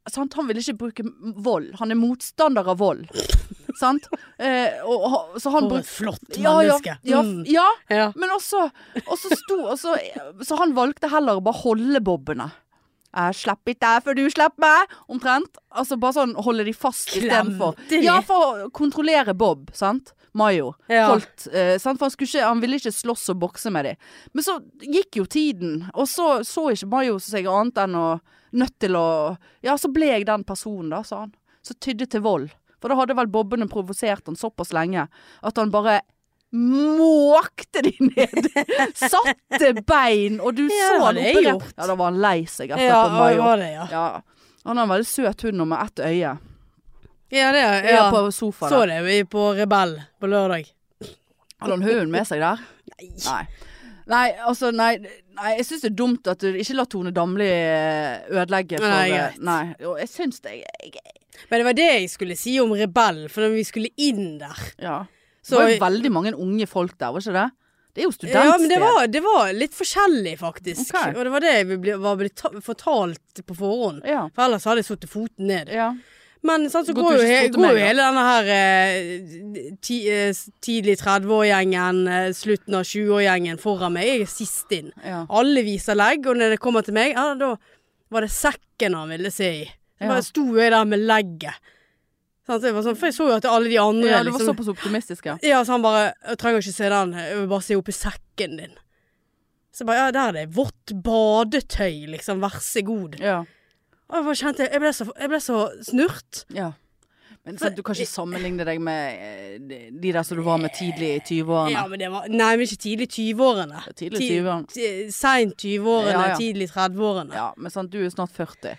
[SPEAKER 2] sant? Han vil ikke bruke m- vold. Han er motstander av vold. sant? Eh, og, og, så
[SPEAKER 1] For et
[SPEAKER 2] han brukte
[SPEAKER 1] flott
[SPEAKER 2] ja, ja,
[SPEAKER 1] menneske.
[SPEAKER 2] ja,
[SPEAKER 1] Mm.
[SPEAKER 2] ja,
[SPEAKER 1] ja.
[SPEAKER 2] men også, også sto også, Så han valgte heller å bare holde bobbene. Jeg slipper ikke deg før du slipper meg, omtrent. Altså bare sånn holde de fast istedenfor.
[SPEAKER 1] Klemte de?
[SPEAKER 2] Ja, for å kontrollere Bob, sant. Mayo.
[SPEAKER 1] Ja.
[SPEAKER 2] Holdt, eh, sant? For han, skulle ikke, han ville ikke slåss og bokse med de. Men så gikk jo tiden, og så så ikke Mayo seg annet enn å Nødt til å Ja, så ble jeg den personen, da, sa han. Så tydde til vold. For da hadde vel bobbene provosert han såpass lenge at han bare måkte de ned. Satte bein, og du
[SPEAKER 1] Ja, det
[SPEAKER 2] så han
[SPEAKER 1] hadde jeg
[SPEAKER 2] oppi der.
[SPEAKER 1] gjort.
[SPEAKER 2] Ja, da var han lei seg etterpå,
[SPEAKER 1] Ja, det
[SPEAKER 2] Mayo.
[SPEAKER 1] var det, ja.
[SPEAKER 2] Ja. Han har en veldig søt hund og med ett øye.
[SPEAKER 1] Ja, det er
[SPEAKER 2] Ja.
[SPEAKER 1] ja.
[SPEAKER 2] På sofaen.
[SPEAKER 1] Så
[SPEAKER 2] der.
[SPEAKER 1] det vi på Rebell på lørdag.
[SPEAKER 2] Hadde han hunden med seg der? Nei. Nei, altså, nei, nei jeg syns det er dumt at du ikke lar Tone Damli eh, ødelegge for
[SPEAKER 1] Nei,
[SPEAKER 2] eh,
[SPEAKER 1] greit.
[SPEAKER 2] Nei, og jeg syns det jeg,
[SPEAKER 1] Men det var det jeg skulle si om Rebell, for når vi skulle inn der
[SPEAKER 2] Ja.
[SPEAKER 1] Så-
[SPEAKER 2] det var jo veldig mange unge folk der, var ikke det? Det er jo studentsted.
[SPEAKER 1] Ja, men det var, det var litt forskjellig, faktisk.
[SPEAKER 2] Ok.
[SPEAKER 1] Og det var det jeg ble, var blitt ta fortalt på forhånd.
[SPEAKER 2] Ja.
[SPEAKER 1] For ellers hadde jeg satt foten ned.
[SPEAKER 2] ja.
[SPEAKER 1] Men sant, så
[SPEAKER 2] Godt
[SPEAKER 1] går
[SPEAKER 2] du
[SPEAKER 1] jo,
[SPEAKER 2] ikke
[SPEAKER 1] he
[SPEAKER 2] spurte
[SPEAKER 1] går
[SPEAKER 2] meg,
[SPEAKER 1] jo
[SPEAKER 2] da.
[SPEAKER 1] hele denne her eh, ti, eh, s- tidlig 30-år-gjengen, eh, slutten av 20-år-gjengen foran meg. Jeg er sist inn.
[SPEAKER 2] ja.
[SPEAKER 1] Alle viser legg, og når det kommer til meg, ja, da var det sekken han ville se i. Så
[SPEAKER 2] Ja.
[SPEAKER 1] bare sto jeg der med legget. Sant, så jeg var sånn, for jeg så jo at alle de andre
[SPEAKER 2] ja, du var
[SPEAKER 1] liksom,
[SPEAKER 2] såpass optimistisk, ja.
[SPEAKER 1] ja, så han bare Jeg trenger ikke se den, jeg vil bare se oppi sekken din. Så jeg bare ja, der er det vått badetøy, liksom, vær så god.
[SPEAKER 2] Ja.
[SPEAKER 1] Og jeg bare kjente Jeg ble så, jeg ble så snurt.
[SPEAKER 2] ja. Men sant, du kan ikke sammenligne deg med eh, de- de der som du var med tidlig i 20-årene.
[SPEAKER 1] Ja, men det var Nei, men ikke tidlig i 20-årene.
[SPEAKER 2] Ja, tidlig i 20-årene.
[SPEAKER 1] Ti- Seint 20-årene,
[SPEAKER 2] Ja, ja.
[SPEAKER 1] tidlig i 30-årene.
[SPEAKER 2] Ja, men sant, du er snart 40.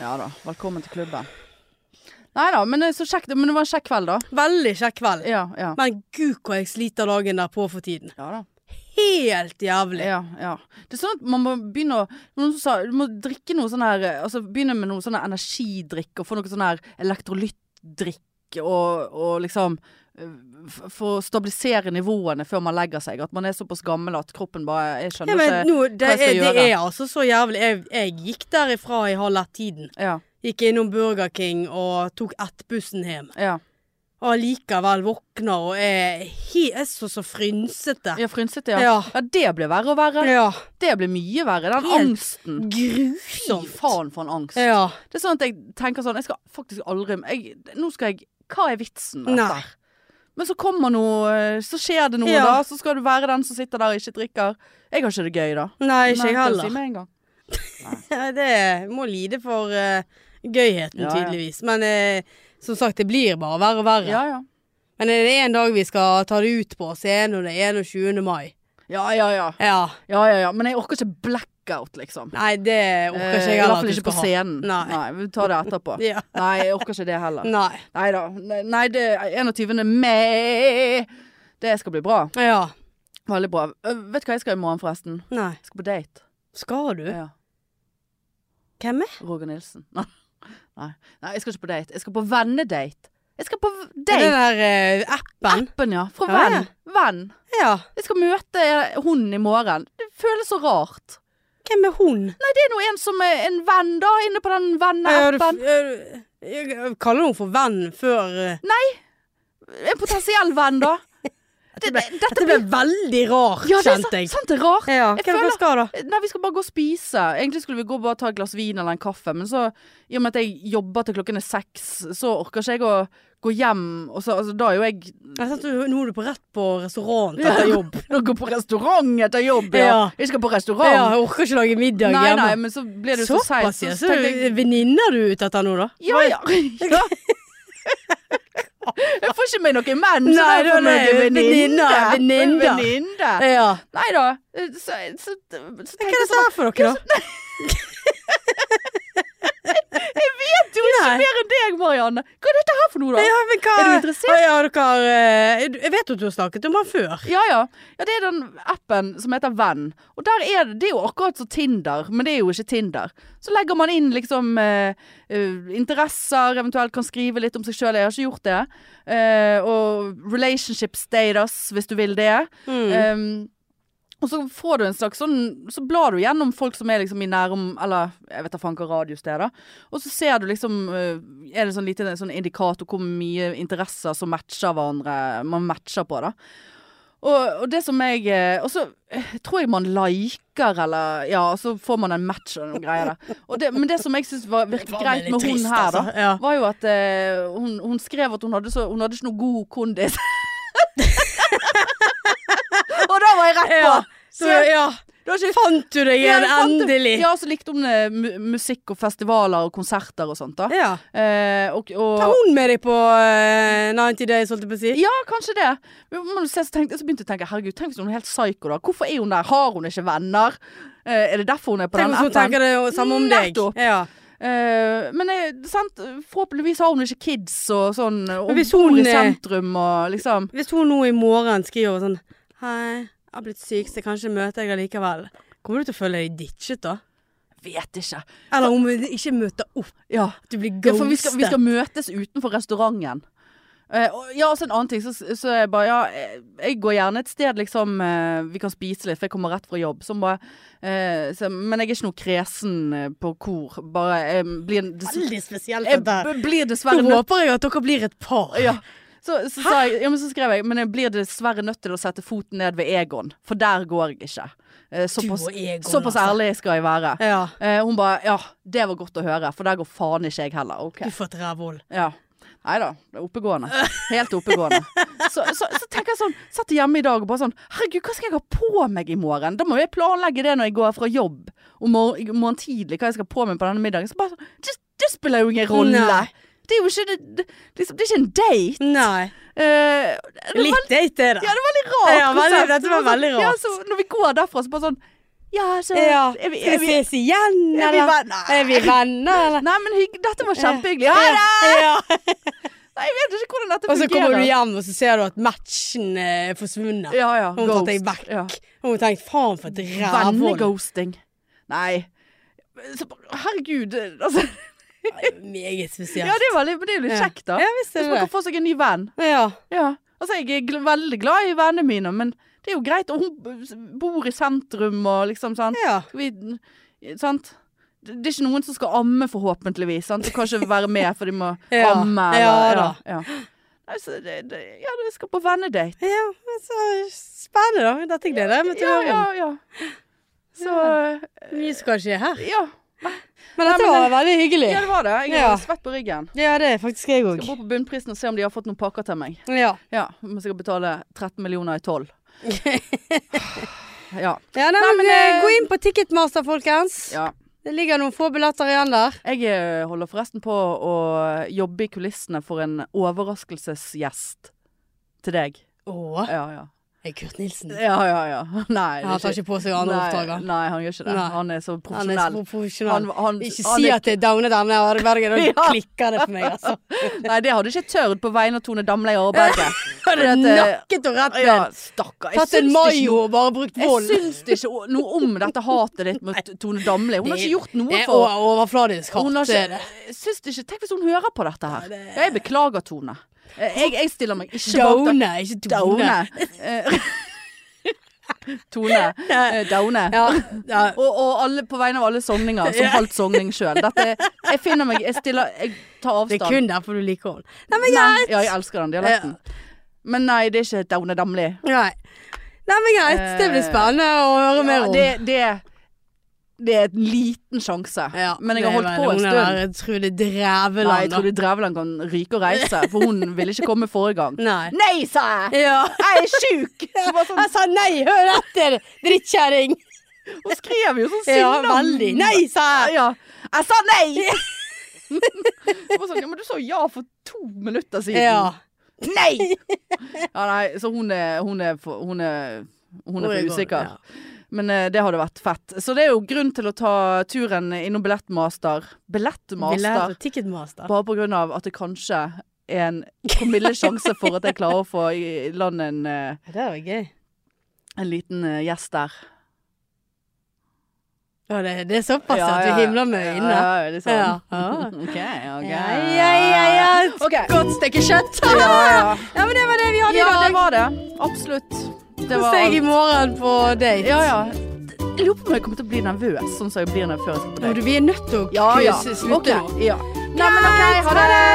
[SPEAKER 2] Ja da. Velkommen til klubben. Nei da, men, eh, så kjekt, men det var en kjekk kveld, da.
[SPEAKER 1] Veldig kjekk kveld.
[SPEAKER 2] Ja, ja.
[SPEAKER 1] Men gud hvor jeg sliter dagen derpå for tiden.
[SPEAKER 2] Ja da.
[SPEAKER 1] Helt jævlig.
[SPEAKER 2] Ja, ja. Det er sånn at man må begynne å Noen som sa du må drikke noe sånn her eh, Altså begynne med noe sånn her energidrikk og få noe sånn her elektrolyttdrikk og, og liksom eh, f- for å stabilisere nivåene før man legger seg. At man er såpass gammel at kroppen bare Jeg
[SPEAKER 1] Ja,
[SPEAKER 2] skjønner
[SPEAKER 1] men
[SPEAKER 2] ikke
[SPEAKER 1] nå, det,
[SPEAKER 2] jeg skal
[SPEAKER 1] er, det
[SPEAKER 2] gjøre.
[SPEAKER 1] er altså så jævlig. Jeg, jeg gikk derifra i halv ett-tiden.
[SPEAKER 2] Ja.
[SPEAKER 1] Gikk innom Burger King og tok ett-bussen hjem.
[SPEAKER 2] ja.
[SPEAKER 1] Og allikevel våkner og er helt så, så frynsete.
[SPEAKER 2] ja Frynsete, ja.
[SPEAKER 1] Ja.
[SPEAKER 2] Ja, det blir verre og verre.
[SPEAKER 1] Ja.
[SPEAKER 2] Det blir mye verre. Den
[SPEAKER 1] Helt
[SPEAKER 2] angsten. Fy
[SPEAKER 1] Grusomt.
[SPEAKER 2] faen for en angst.
[SPEAKER 1] Ja.
[SPEAKER 2] Det er sånn at jeg tenker sånn Jeg skal faktisk aldri jeg, Nå skal jeg Hva er vitsen
[SPEAKER 1] Nei.
[SPEAKER 2] med dette? her? Men så kommer noe Så skjer det noe
[SPEAKER 1] Ja.
[SPEAKER 2] da Så skal du være den som sitter der og ikke drikker Jeg har ikke det gøy da
[SPEAKER 1] Nei, ikke
[SPEAKER 2] Nei,
[SPEAKER 1] jeg
[SPEAKER 2] kan
[SPEAKER 1] heller.
[SPEAKER 2] si med en gang.
[SPEAKER 1] Ja, det må lide for eh, gøyheten,
[SPEAKER 2] Ja, ja.
[SPEAKER 1] tydeligvis. Men eh, som sagt, det blir bare verre og verre.
[SPEAKER 2] Ja, ja
[SPEAKER 1] Men er det en dag vi skal ta det ut på, så er det når det er 21. mai.
[SPEAKER 2] Ja, ja, ja
[SPEAKER 1] Ja.
[SPEAKER 2] Ja, ja, ja Men jeg orker ikke blackout liksom
[SPEAKER 1] Nei, det orker ikke
[SPEAKER 2] Eh,
[SPEAKER 1] jeg
[SPEAKER 2] I
[SPEAKER 1] heller
[SPEAKER 2] hvert fall ikke på scenen
[SPEAKER 1] Nei.
[SPEAKER 2] vi tar det etterpå
[SPEAKER 1] Ja.
[SPEAKER 2] Nei, jeg orker ikke det heller
[SPEAKER 1] Nei.
[SPEAKER 2] Neida Nei, Nei, det er 21. mai Det skal bli bra
[SPEAKER 1] Ja.
[SPEAKER 2] Veldig bra Ø, Vet du hva jeg skal i morgen forresten?
[SPEAKER 1] Nei.
[SPEAKER 2] Jeg skal på date
[SPEAKER 1] Skal du?
[SPEAKER 2] Ja
[SPEAKER 1] Hvem er?
[SPEAKER 2] Roger Nilsen. Nei. Nei. Nei, jeg skal ikke på date. Jeg skal på vennedate. Jeg skal på v-
[SPEAKER 1] Er det
[SPEAKER 2] date.
[SPEAKER 1] den der eh, appen?
[SPEAKER 2] Appen, ja. Fra
[SPEAKER 1] Ja,
[SPEAKER 2] venn. Venn.
[SPEAKER 1] Ja.
[SPEAKER 2] Jeg skal møte hun i morgen. Det føles så rart.
[SPEAKER 1] Hvem er hun?
[SPEAKER 2] Nei, det er nå en som er en venn, da, inne på den
[SPEAKER 1] Ja, du-
[SPEAKER 2] venneappen.
[SPEAKER 1] ja, du- jeg kaller hun for venn før eh,
[SPEAKER 2] En potensiell venn, da. Det, det, dette
[SPEAKER 1] Dette ble veldig rart,
[SPEAKER 2] Ja, det er
[SPEAKER 1] kjente jeg.
[SPEAKER 2] sant, sant det er rart.
[SPEAKER 1] Ja,
[SPEAKER 2] Jeg
[SPEAKER 1] hva hva
[SPEAKER 2] føler-
[SPEAKER 1] skal da?
[SPEAKER 2] Nei, vi skal bare gå og spise. Egentlig skulle vi gå og bare ta et glass vin eller en kaffe, men så, i og med at jeg jobber til klokken er seks, så orker ikke jeg å gå hjem, og så, altså, da er jo jeg
[SPEAKER 1] Jeg satt, nå er du på rett på restaurant
[SPEAKER 2] Ja.
[SPEAKER 1] etter jobb.
[SPEAKER 2] Dere går på restaurant etter jobb, ja.
[SPEAKER 1] Ja.
[SPEAKER 2] Jeg skal på
[SPEAKER 1] Ja,
[SPEAKER 2] restaurant.
[SPEAKER 1] jeg orker ikke lage middag
[SPEAKER 2] nei,
[SPEAKER 1] hjemme.
[SPEAKER 2] nei, men så ble det jo så seint.
[SPEAKER 1] Såpass,
[SPEAKER 2] Så,
[SPEAKER 1] ja.
[SPEAKER 2] så
[SPEAKER 1] Så
[SPEAKER 2] tenkte jeg
[SPEAKER 1] venninner du er ute etter nå, da?
[SPEAKER 2] Ja, ja. ja. Jeg får ikke med noe menn, så
[SPEAKER 1] Nei,
[SPEAKER 2] da får
[SPEAKER 1] nei,
[SPEAKER 2] jeg
[SPEAKER 1] nei,
[SPEAKER 2] venninne.
[SPEAKER 1] venninne, venninne.
[SPEAKER 2] Venninne.
[SPEAKER 1] Ja.
[SPEAKER 2] Nei da. Eh, Så, så, så,
[SPEAKER 1] Hva
[SPEAKER 2] tenkte
[SPEAKER 1] er
[SPEAKER 2] jeg
[SPEAKER 1] dette
[SPEAKER 2] sånn
[SPEAKER 1] her for dere, da?
[SPEAKER 2] Du er ikke mer enn deg, Marianne. Hva er dette her for noe, da?
[SPEAKER 1] Ja, men hva
[SPEAKER 2] Er du interessert?
[SPEAKER 1] Ja, ja, dere eh, Jeg vet at du har snakket om han før.
[SPEAKER 2] Ja, ja. ja, det er den appen som heter Venn. Og der er det, det er jo akkurat som Tinder, men det er jo ikke Tinder. Så legger man inn liksom eh, eh, interesser, eventuelt kan skrive litt om seg sjøl. Jeg har ikke gjort det. Eh, og relationship status, hvis du vil det.
[SPEAKER 1] Mm.
[SPEAKER 2] Ehm, og så får du en slags sånn Så blar du gjennom folk som er liksom i nærom Eller jeg vet da faen hva radius det er, da. Og så ser du liksom eh, Er det sånn lite sånn indikator hvor mye interesser som matcher hverandre man matcher på, da. Og, og det som jeg eh, Og så eh, tror jeg man liker, eller Ja, og så får man en match og noen greier der. Og det, men det som jeg syns virket
[SPEAKER 1] var veldig
[SPEAKER 2] greit med
[SPEAKER 1] trist,
[SPEAKER 2] hun her, da,
[SPEAKER 1] altså. Ja.
[SPEAKER 2] var jo at eh, hun, hun skrev at hun hadde, så, hun hadde ikke noe god kondis. og da var jeg rett på!
[SPEAKER 1] Ja. Så,
[SPEAKER 2] Så-
[SPEAKER 1] ja.
[SPEAKER 2] Det var ikke
[SPEAKER 1] Fant du deg igjen,
[SPEAKER 2] jeg fant det-
[SPEAKER 1] endelig?
[SPEAKER 2] Ja, så likte hun eh, mu- musikk og festivaler og konserter og sånt, da.
[SPEAKER 1] Ja.
[SPEAKER 2] Eh, og, og,
[SPEAKER 1] Tar hun med deg på eh, 90 Days, holdt jeg på å si?
[SPEAKER 2] Ja, kanskje det. Men må du se, så, tenkte, så begynte jeg å tenke herregud, tenk hvis hun er helt psyko, da. Hvorfor er hun der? Har hun ikke venner? Eh, er det derfor hun er på
[SPEAKER 1] Tenk
[SPEAKER 2] den
[SPEAKER 1] hvis hun
[SPEAKER 2] appen?
[SPEAKER 1] tenker det samme om deg.
[SPEAKER 2] Nettopp.
[SPEAKER 1] Ja.
[SPEAKER 2] Eh, men eh, sant? forhåpentligvis har hun ikke kids og sånn. Og
[SPEAKER 1] hvis
[SPEAKER 2] bor
[SPEAKER 1] hun,
[SPEAKER 2] i
[SPEAKER 1] eh,
[SPEAKER 2] sentrum og liksom
[SPEAKER 1] Hvis hun nå i morgen skriver sånn Hei, jeg har blitt syk, så kanskje møter jeg deg likevel. Kommer du til å føle deg ditchet da?
[SPEAKER 2] Vet ikke.
[SPEAKER 1] Eller om hun ikke møter opp.
[SPEAKER 2] Ja.
[SPEAKER 1] At du blir
[SPEAKER 2] Ja, for vi
[SPEAKER 1] ghostet.
[SPEAKER 2] skal, vi skal møtes utenfor restauranten. Eh, og, ja, og så en annen ting, så, så er jeg bare Ja, eh, jeg går gjerne et sted liksom eh, vi kan spise litt, for jeg kommer rett fra jobb. Så bare, eh, så, men jeg er ikke noe kresen eh, på kor. Bare jeg blir, dess,
[SPEAKER 1] Veldig spesielt
[SPEAKER 2] jeg
[SPEAKER 1] dette. her.
[SPEAKER 2] b- blir dessverre
[SPEAKER 1] Nå
[SPEAKER 2] nødt
[SPEAKER 1] håper jeg at dere blir et par.
[SPEAKER 2] ja. Så, så, sa jeg, ja, men så skrev jeg Men jeg blir dessverre nødt til å sette foten ned ved Egon, for der går jeg ikke. Eh, såpass
[SPEAKER 1] og Egon,
[SPEAKER 2] såpass
[SPEAKER 1] altså.
[SPEAKER 2] ærlig skal jeg være.
[SPEAKER 1] Ja.
[SPEAKER 2] Eh, hun bare Ja, det var godt å høre, for der går faen ikke jeg heller. Ok
[SPEAKER 1] Du får et rævhull.
[SPEAKER 2] ja. Nei da, det er oppegående. Helt oppegående. Så, så, så tenker jeg sånn, satt hjemme i dag og bare sånn Herregud, hva skal jeg ha på meg i morgen? Da må jeg planlegge det når jeg går fra jobb om mor i morgen tidlig, hva jeg skal på meg på denne middagen. Så bare sånn Det, det spiller jo ingen rolle.
[SPEAKER 1] Nei.
[SPEAKER 2] Det er jo ikke, det, det, liksom, det er ikke en date.
[SPEAKER 1] Nei.
[SPEAKER 2] Eh, det var
[SPEAKER 1] Litt date, det,
[SPEAKER 2] ja,
[SPEAKER 1] da.
[SPEAKER 2] det var litt rart.
[SPEAKER 1] Ja, veldig-
[SPEAKER 2] konsept.
[SPEAKER 1] dette var
[SPEAKER 2] Det sånn-
[SPEAKER 1] veldig rart.
[SPEAKER 2] Ja, så når vi går derfra, så bare sånn Ja, så
[SPEAKER 1] Ja.
[SPEAKER 2] er vi,
[SPEAKER 1] Skal vi ses igjen,
[SPEAKER 2] er vi
[SPEAKER 1] eller?
[SPEAKER 2] venner?
[SPEAKER 1] Er vi venner, eller?
[SPEAKER 2] Nei, men hygg, dette var kjempehyggelig. Ha det!
[SPEAKER 1] Ja.
[SPEAKER 2] Nei, jeg vet ikke hvordan dette
[SPEAKER 1] Og så
[SPEAKER 2] fungerer.
[SPEAKER 1] kommer du hjem, og så ser du at matchen eh, er forsvunnet.
[SPEAKER 2] Ja, ja.
[SPEAKER 1] Hun tatt deg
[SPEAKER 2] ghost.
[SPEAKER 1] vekk.
[SPEAKER 2] Ja.
[SPEAKER 1] Og hun tenkte faen for et rævhold.
[SPEAKER 2] Venneghosting. Nei. Så, bare- herregud. Altså,
[SPEAKER 1] Meget
[SPEAKER 2] ja,
[SPEAKER 1] spesielt.
[SPEAKER 2] det var litt, men det er jo litt
[SPEAKER 1] Ja.
[SPEAKER 2] kjekt, da.
[SPEAKER 1] Ja, visst
[SPEAKER 2] Hvis
[SPEAKER 1] er
[SPEAKER 2] man
[SPEAKER 1] det
[SPEAKER 2] kan
[SPEAKER 1] det.
[SPEAKER 2] få seg en ny venn.
[SPEAKER 1] Ja.
[SPEAKER 2] Ja. Altså, jeg er gl veldig glad i vennene mine, men det er jo greit. Og hun b- bor i sentrum og liksom sånn.
[SPEAKER 1] ja.
[SPEAKER 2] Skal vi Sant? Det det er ikke noen som skal amme, forhåpentligvis. Sant? Du kan ikke være med, for de må
[SPEAKER 1] Ja.
[SPEAKER 2] amme.
[SPEAKER 1] Ja,
[SPEAKER 2] ja,
[SPEAKER 1] da.
[SPEAKER 2] ja. Nei, så det, det, ja, det skal på vennedate.
[SPEAKER 1] ja men så spennende, da. Dette gleder jeg meg til å
[SPEAKER 2] Ja,
[SPEAKER 1] høre om.
[SPEAKER 2] ja, ja. Så
[SPEAKER 1] Mye skal skje her.
[SPEAKER 2] ja.
[SPEAKER 1] Men
[SPEAKER 2] Nei,
[SPEAKER 1] dette
[SPEAKER 2] men-
[SPEAKER 1] var veldig hyggelig.
[SPEAKER 2] ja, det var det. Jeg er
[SPEAKER 1] Ja.
[SPEAKER 2] svett på ryggen.
[SPEAKER 1] Ja, det er faktisk jeg òg.
[SPEAKER 2] Skal bort på Bunnprisen og se om de har fått noen pakker til meg.
[SPEAKER 1] Ja.
[SPEAKER 2] Ja, Må sikkert betale 13 millioner i toll. ja.
[SPEAKER 1] Ja, nei, men,
[SPEAKER 2] Nei, men,
[SPEAKER 1] eh,
[SPEAKER 2] eh,
[SPEAKER 1] gå inn på Ticketmaster, folkens.
[SPEAKER 2] ja.
[SPEAKER 1] Det ligger noen få billetter igjen der.
[SPEAKER 2] Jeg eh, holder forresten på å jobbe i kulissene for en overraskelsesgjest til deg.
[SPEAKER 1] Å,
[SPEAKER 2] Ja, ja.
[SPEAKER 1] er Kurt Nilsen.
[SPEAKER 2] Ja, ja, ja. Nei. det er
[SPEAKER 1] Han tar ikke på seg andre
[SPEAKER 2] Nei,
[SPEAKER 1] oppdrag. han.
[SPEAKER 2] Nei, han gjør ikke det.
[SPEAKER 1] Nei.
[SPEAKER 2] Han er så
[SPEAKER 1] Han er
[SPEAKER 2] profesjonell.
[SPEAKER 1] så profesjonell.
[SPEAKER 2] han-
[SPEAKER 1] Ikke
[SPEAKER 2] han
[SPEAKER 1] si
[SPEAKER 2] er-
[SPEAKER 1] at det er downet denne Harbergen, da
[SPEAKER 2] Ja.
[SPEAKER 1] klikker det for meg, altså.
[SPEAKER 2] Nei, det hadde jeg ikke tørt på vegne av Tone Damli og Berge.
[SPEAKER 1] Hadde
[SPEAKER 2] Fordi at, eh,
[SPEAKER 1] nakket og rett
[SPEAKER 2] Ja,
[SPEAKER 1] med.
[SPEAKER 2] stakkar. Jeg
[SPEAKER 1] Tatt en
[SPEAKER 2] syns det ikke
[SPEAKER 1] mayo
[SPEAKER 2] noe-
[SPEAKER 1] og bare brukt
[SPEAKER 2] Jeg
[SPEAKER 1] vold.
[SPEAKER 2] syns det ikke o- noe om dette hatet ditt mot Tone Damli. Hun har ikke gjort
[SPEAKER 1] Det
[SPEAKER 2] noe
[SPEAKER 1] er
[SPEAKER 2] for
[SPEAKER 1] o- overfladisk hardt.
[SPEAKER 2] hun har
[SPEAKER 1] det er
[SPEAKER 2] ikke,
[SPEAKER 1] det.
[SPEAKER 2] jeg syns det ikke, Tenk hvis hun hører på dette her. Ja, jeg beklager, Tone. Eh, Jeg, jeg stiller meg ikke bak den.
[SPEAKER 1] Downe, ikke tone.
[SPEAKER 2] Daune. Eh, Tone. eh, Daune.
[SPEAKER 1] Ja, ja.
[SPEAKER 2] Og, og alle, på vegne av alle sogninger, som
[SPEAKER 1] Ja.
[SPEAKER 2] halvt sogning sjøl. Jeg finner meg Jeg stiller Jeg tar
[SPEAKER 1] Det
[SPEAKER 2] avstand.
[SPEAKER 1] er kun derfor du liker henne. Nei, men
[SPEAKER 2] Nei,
[SPEAKER 1] greit.
[SPEAKER 2] ja, jeg elsker den dialekten. Men nei, det er ikke Daune Damli.
[SPEAKER 1] Nei. Nei, men greit. Det blir spennende å høre mer om.
[SPEAKER 2] Eh, det, det, det er en liten sjanse.
[SPEAKER 1] Ja,
[SPEAKER 2] Men jeg
[SPEAKER 1] det
[SPEAKER 2] har holdt
[SPEAKER 1] er
[SPEAKER 2] på
[SPEAKER 1] vel
[SPEAKER 2] en
[SPEAKER 1] hun
[SPEAKER 2] stund.
[SPEAKER 1] der Trude
[SPEAKER 2] Nei, jeg
[SPEAKER 1] Drevland, da.
[SPEAKER 2] trodde Drevland kan ryke og reise, for hun ville ikke komme forrige gang.
[SPEAKER 1] Nei.
[SPEAKER 2] Nei, sa jeg!
[SPEAKER 1] Ja.
[SPEAKER 2] Jeg er sjuk! Så bare sånn,
[SPEAKER 1] Jeg sa nei, hør etter, drittkjerring!
[SPEAKER 2] Hun skrev jo sånn
[SPEAKER 1] Ja,
[SPEAKER 2] sinna
[SPEAKER 1] veldig. Nei, sa jeg!
[SPEAKER 2] Ja. Jeg sa nei! Jeg bare sånn, ja, men du sa ja for to minutter siden.
[SPEAKER 1] Ja.
[SPEAKER 2] Nei! Ja, nei, så hun er Hun er for, hun er, hun er
[SPEAKER 1] Hvor jeg
[SPEAKER 2] for
[SPEAKER 1] går,
[SPEAKER 2] usikker.
[SPEAKER 1] ja.
[SPEAKER 2] Men eh, det hadde vært fett. Så det er jo grunn til å ta turen innom Billettmaster.
[SPEAKER 1] Vi
[SPEAKER 2] Billettmaster.
[SPEAKER 1] lærer Ticketmaster.
[SPEAKER 2] Bare på grunn av at det kanskje er en promille sjanse for at jeg klarer å få i land en, eh,
[SPEAKER 1] Ja, Det var gøy.
[SPEAKER 2] en liten eh, gjest der.
[SPEAKER 1] Ja, det, det er såpass at du himler med øynene.
[SPEAKER 2] Ja, ja, litt sånn.
[SPEAKER 1] Ja.
[SPEAKER 2] OK, OK.
[SPEAKER 1] Ja, ja, ja, ja. Et
[SPEAKER 2] Ok.
[SPEAKER 1] Godt stykke kjøtt.
[SPEAKER 2] Ja, ja.
[SPEAKER 1] Ja, men det var det vi hadde
[SPEAKER 2] ja,
[SPEAKER 1] i dag.
[SPEAKER 2] det var det. Absolutt. Det
[SPEAKER 1] Kos
[SPEAKER 2] var
[SPEAKER 1] deg i
[SPEAKER 2] alt.
[SPEAKER 1] morgen på date.
[SPEAKER 2] Ja, ja. Jeg lurer på om jeg kommer til å bli nervøs, sånn som jeg blir nervøs
[SPEAKER 1] Å,
[SPEAKER 2] på deg.
[SPEAKER 1] du, Vi er nødt til å
[SPEAKER 2] Ja, ja.
[SPEAKER 1] s- slutte nå.
[SPEAKER 2] Ok, Ja. Nei, men OK, ha det.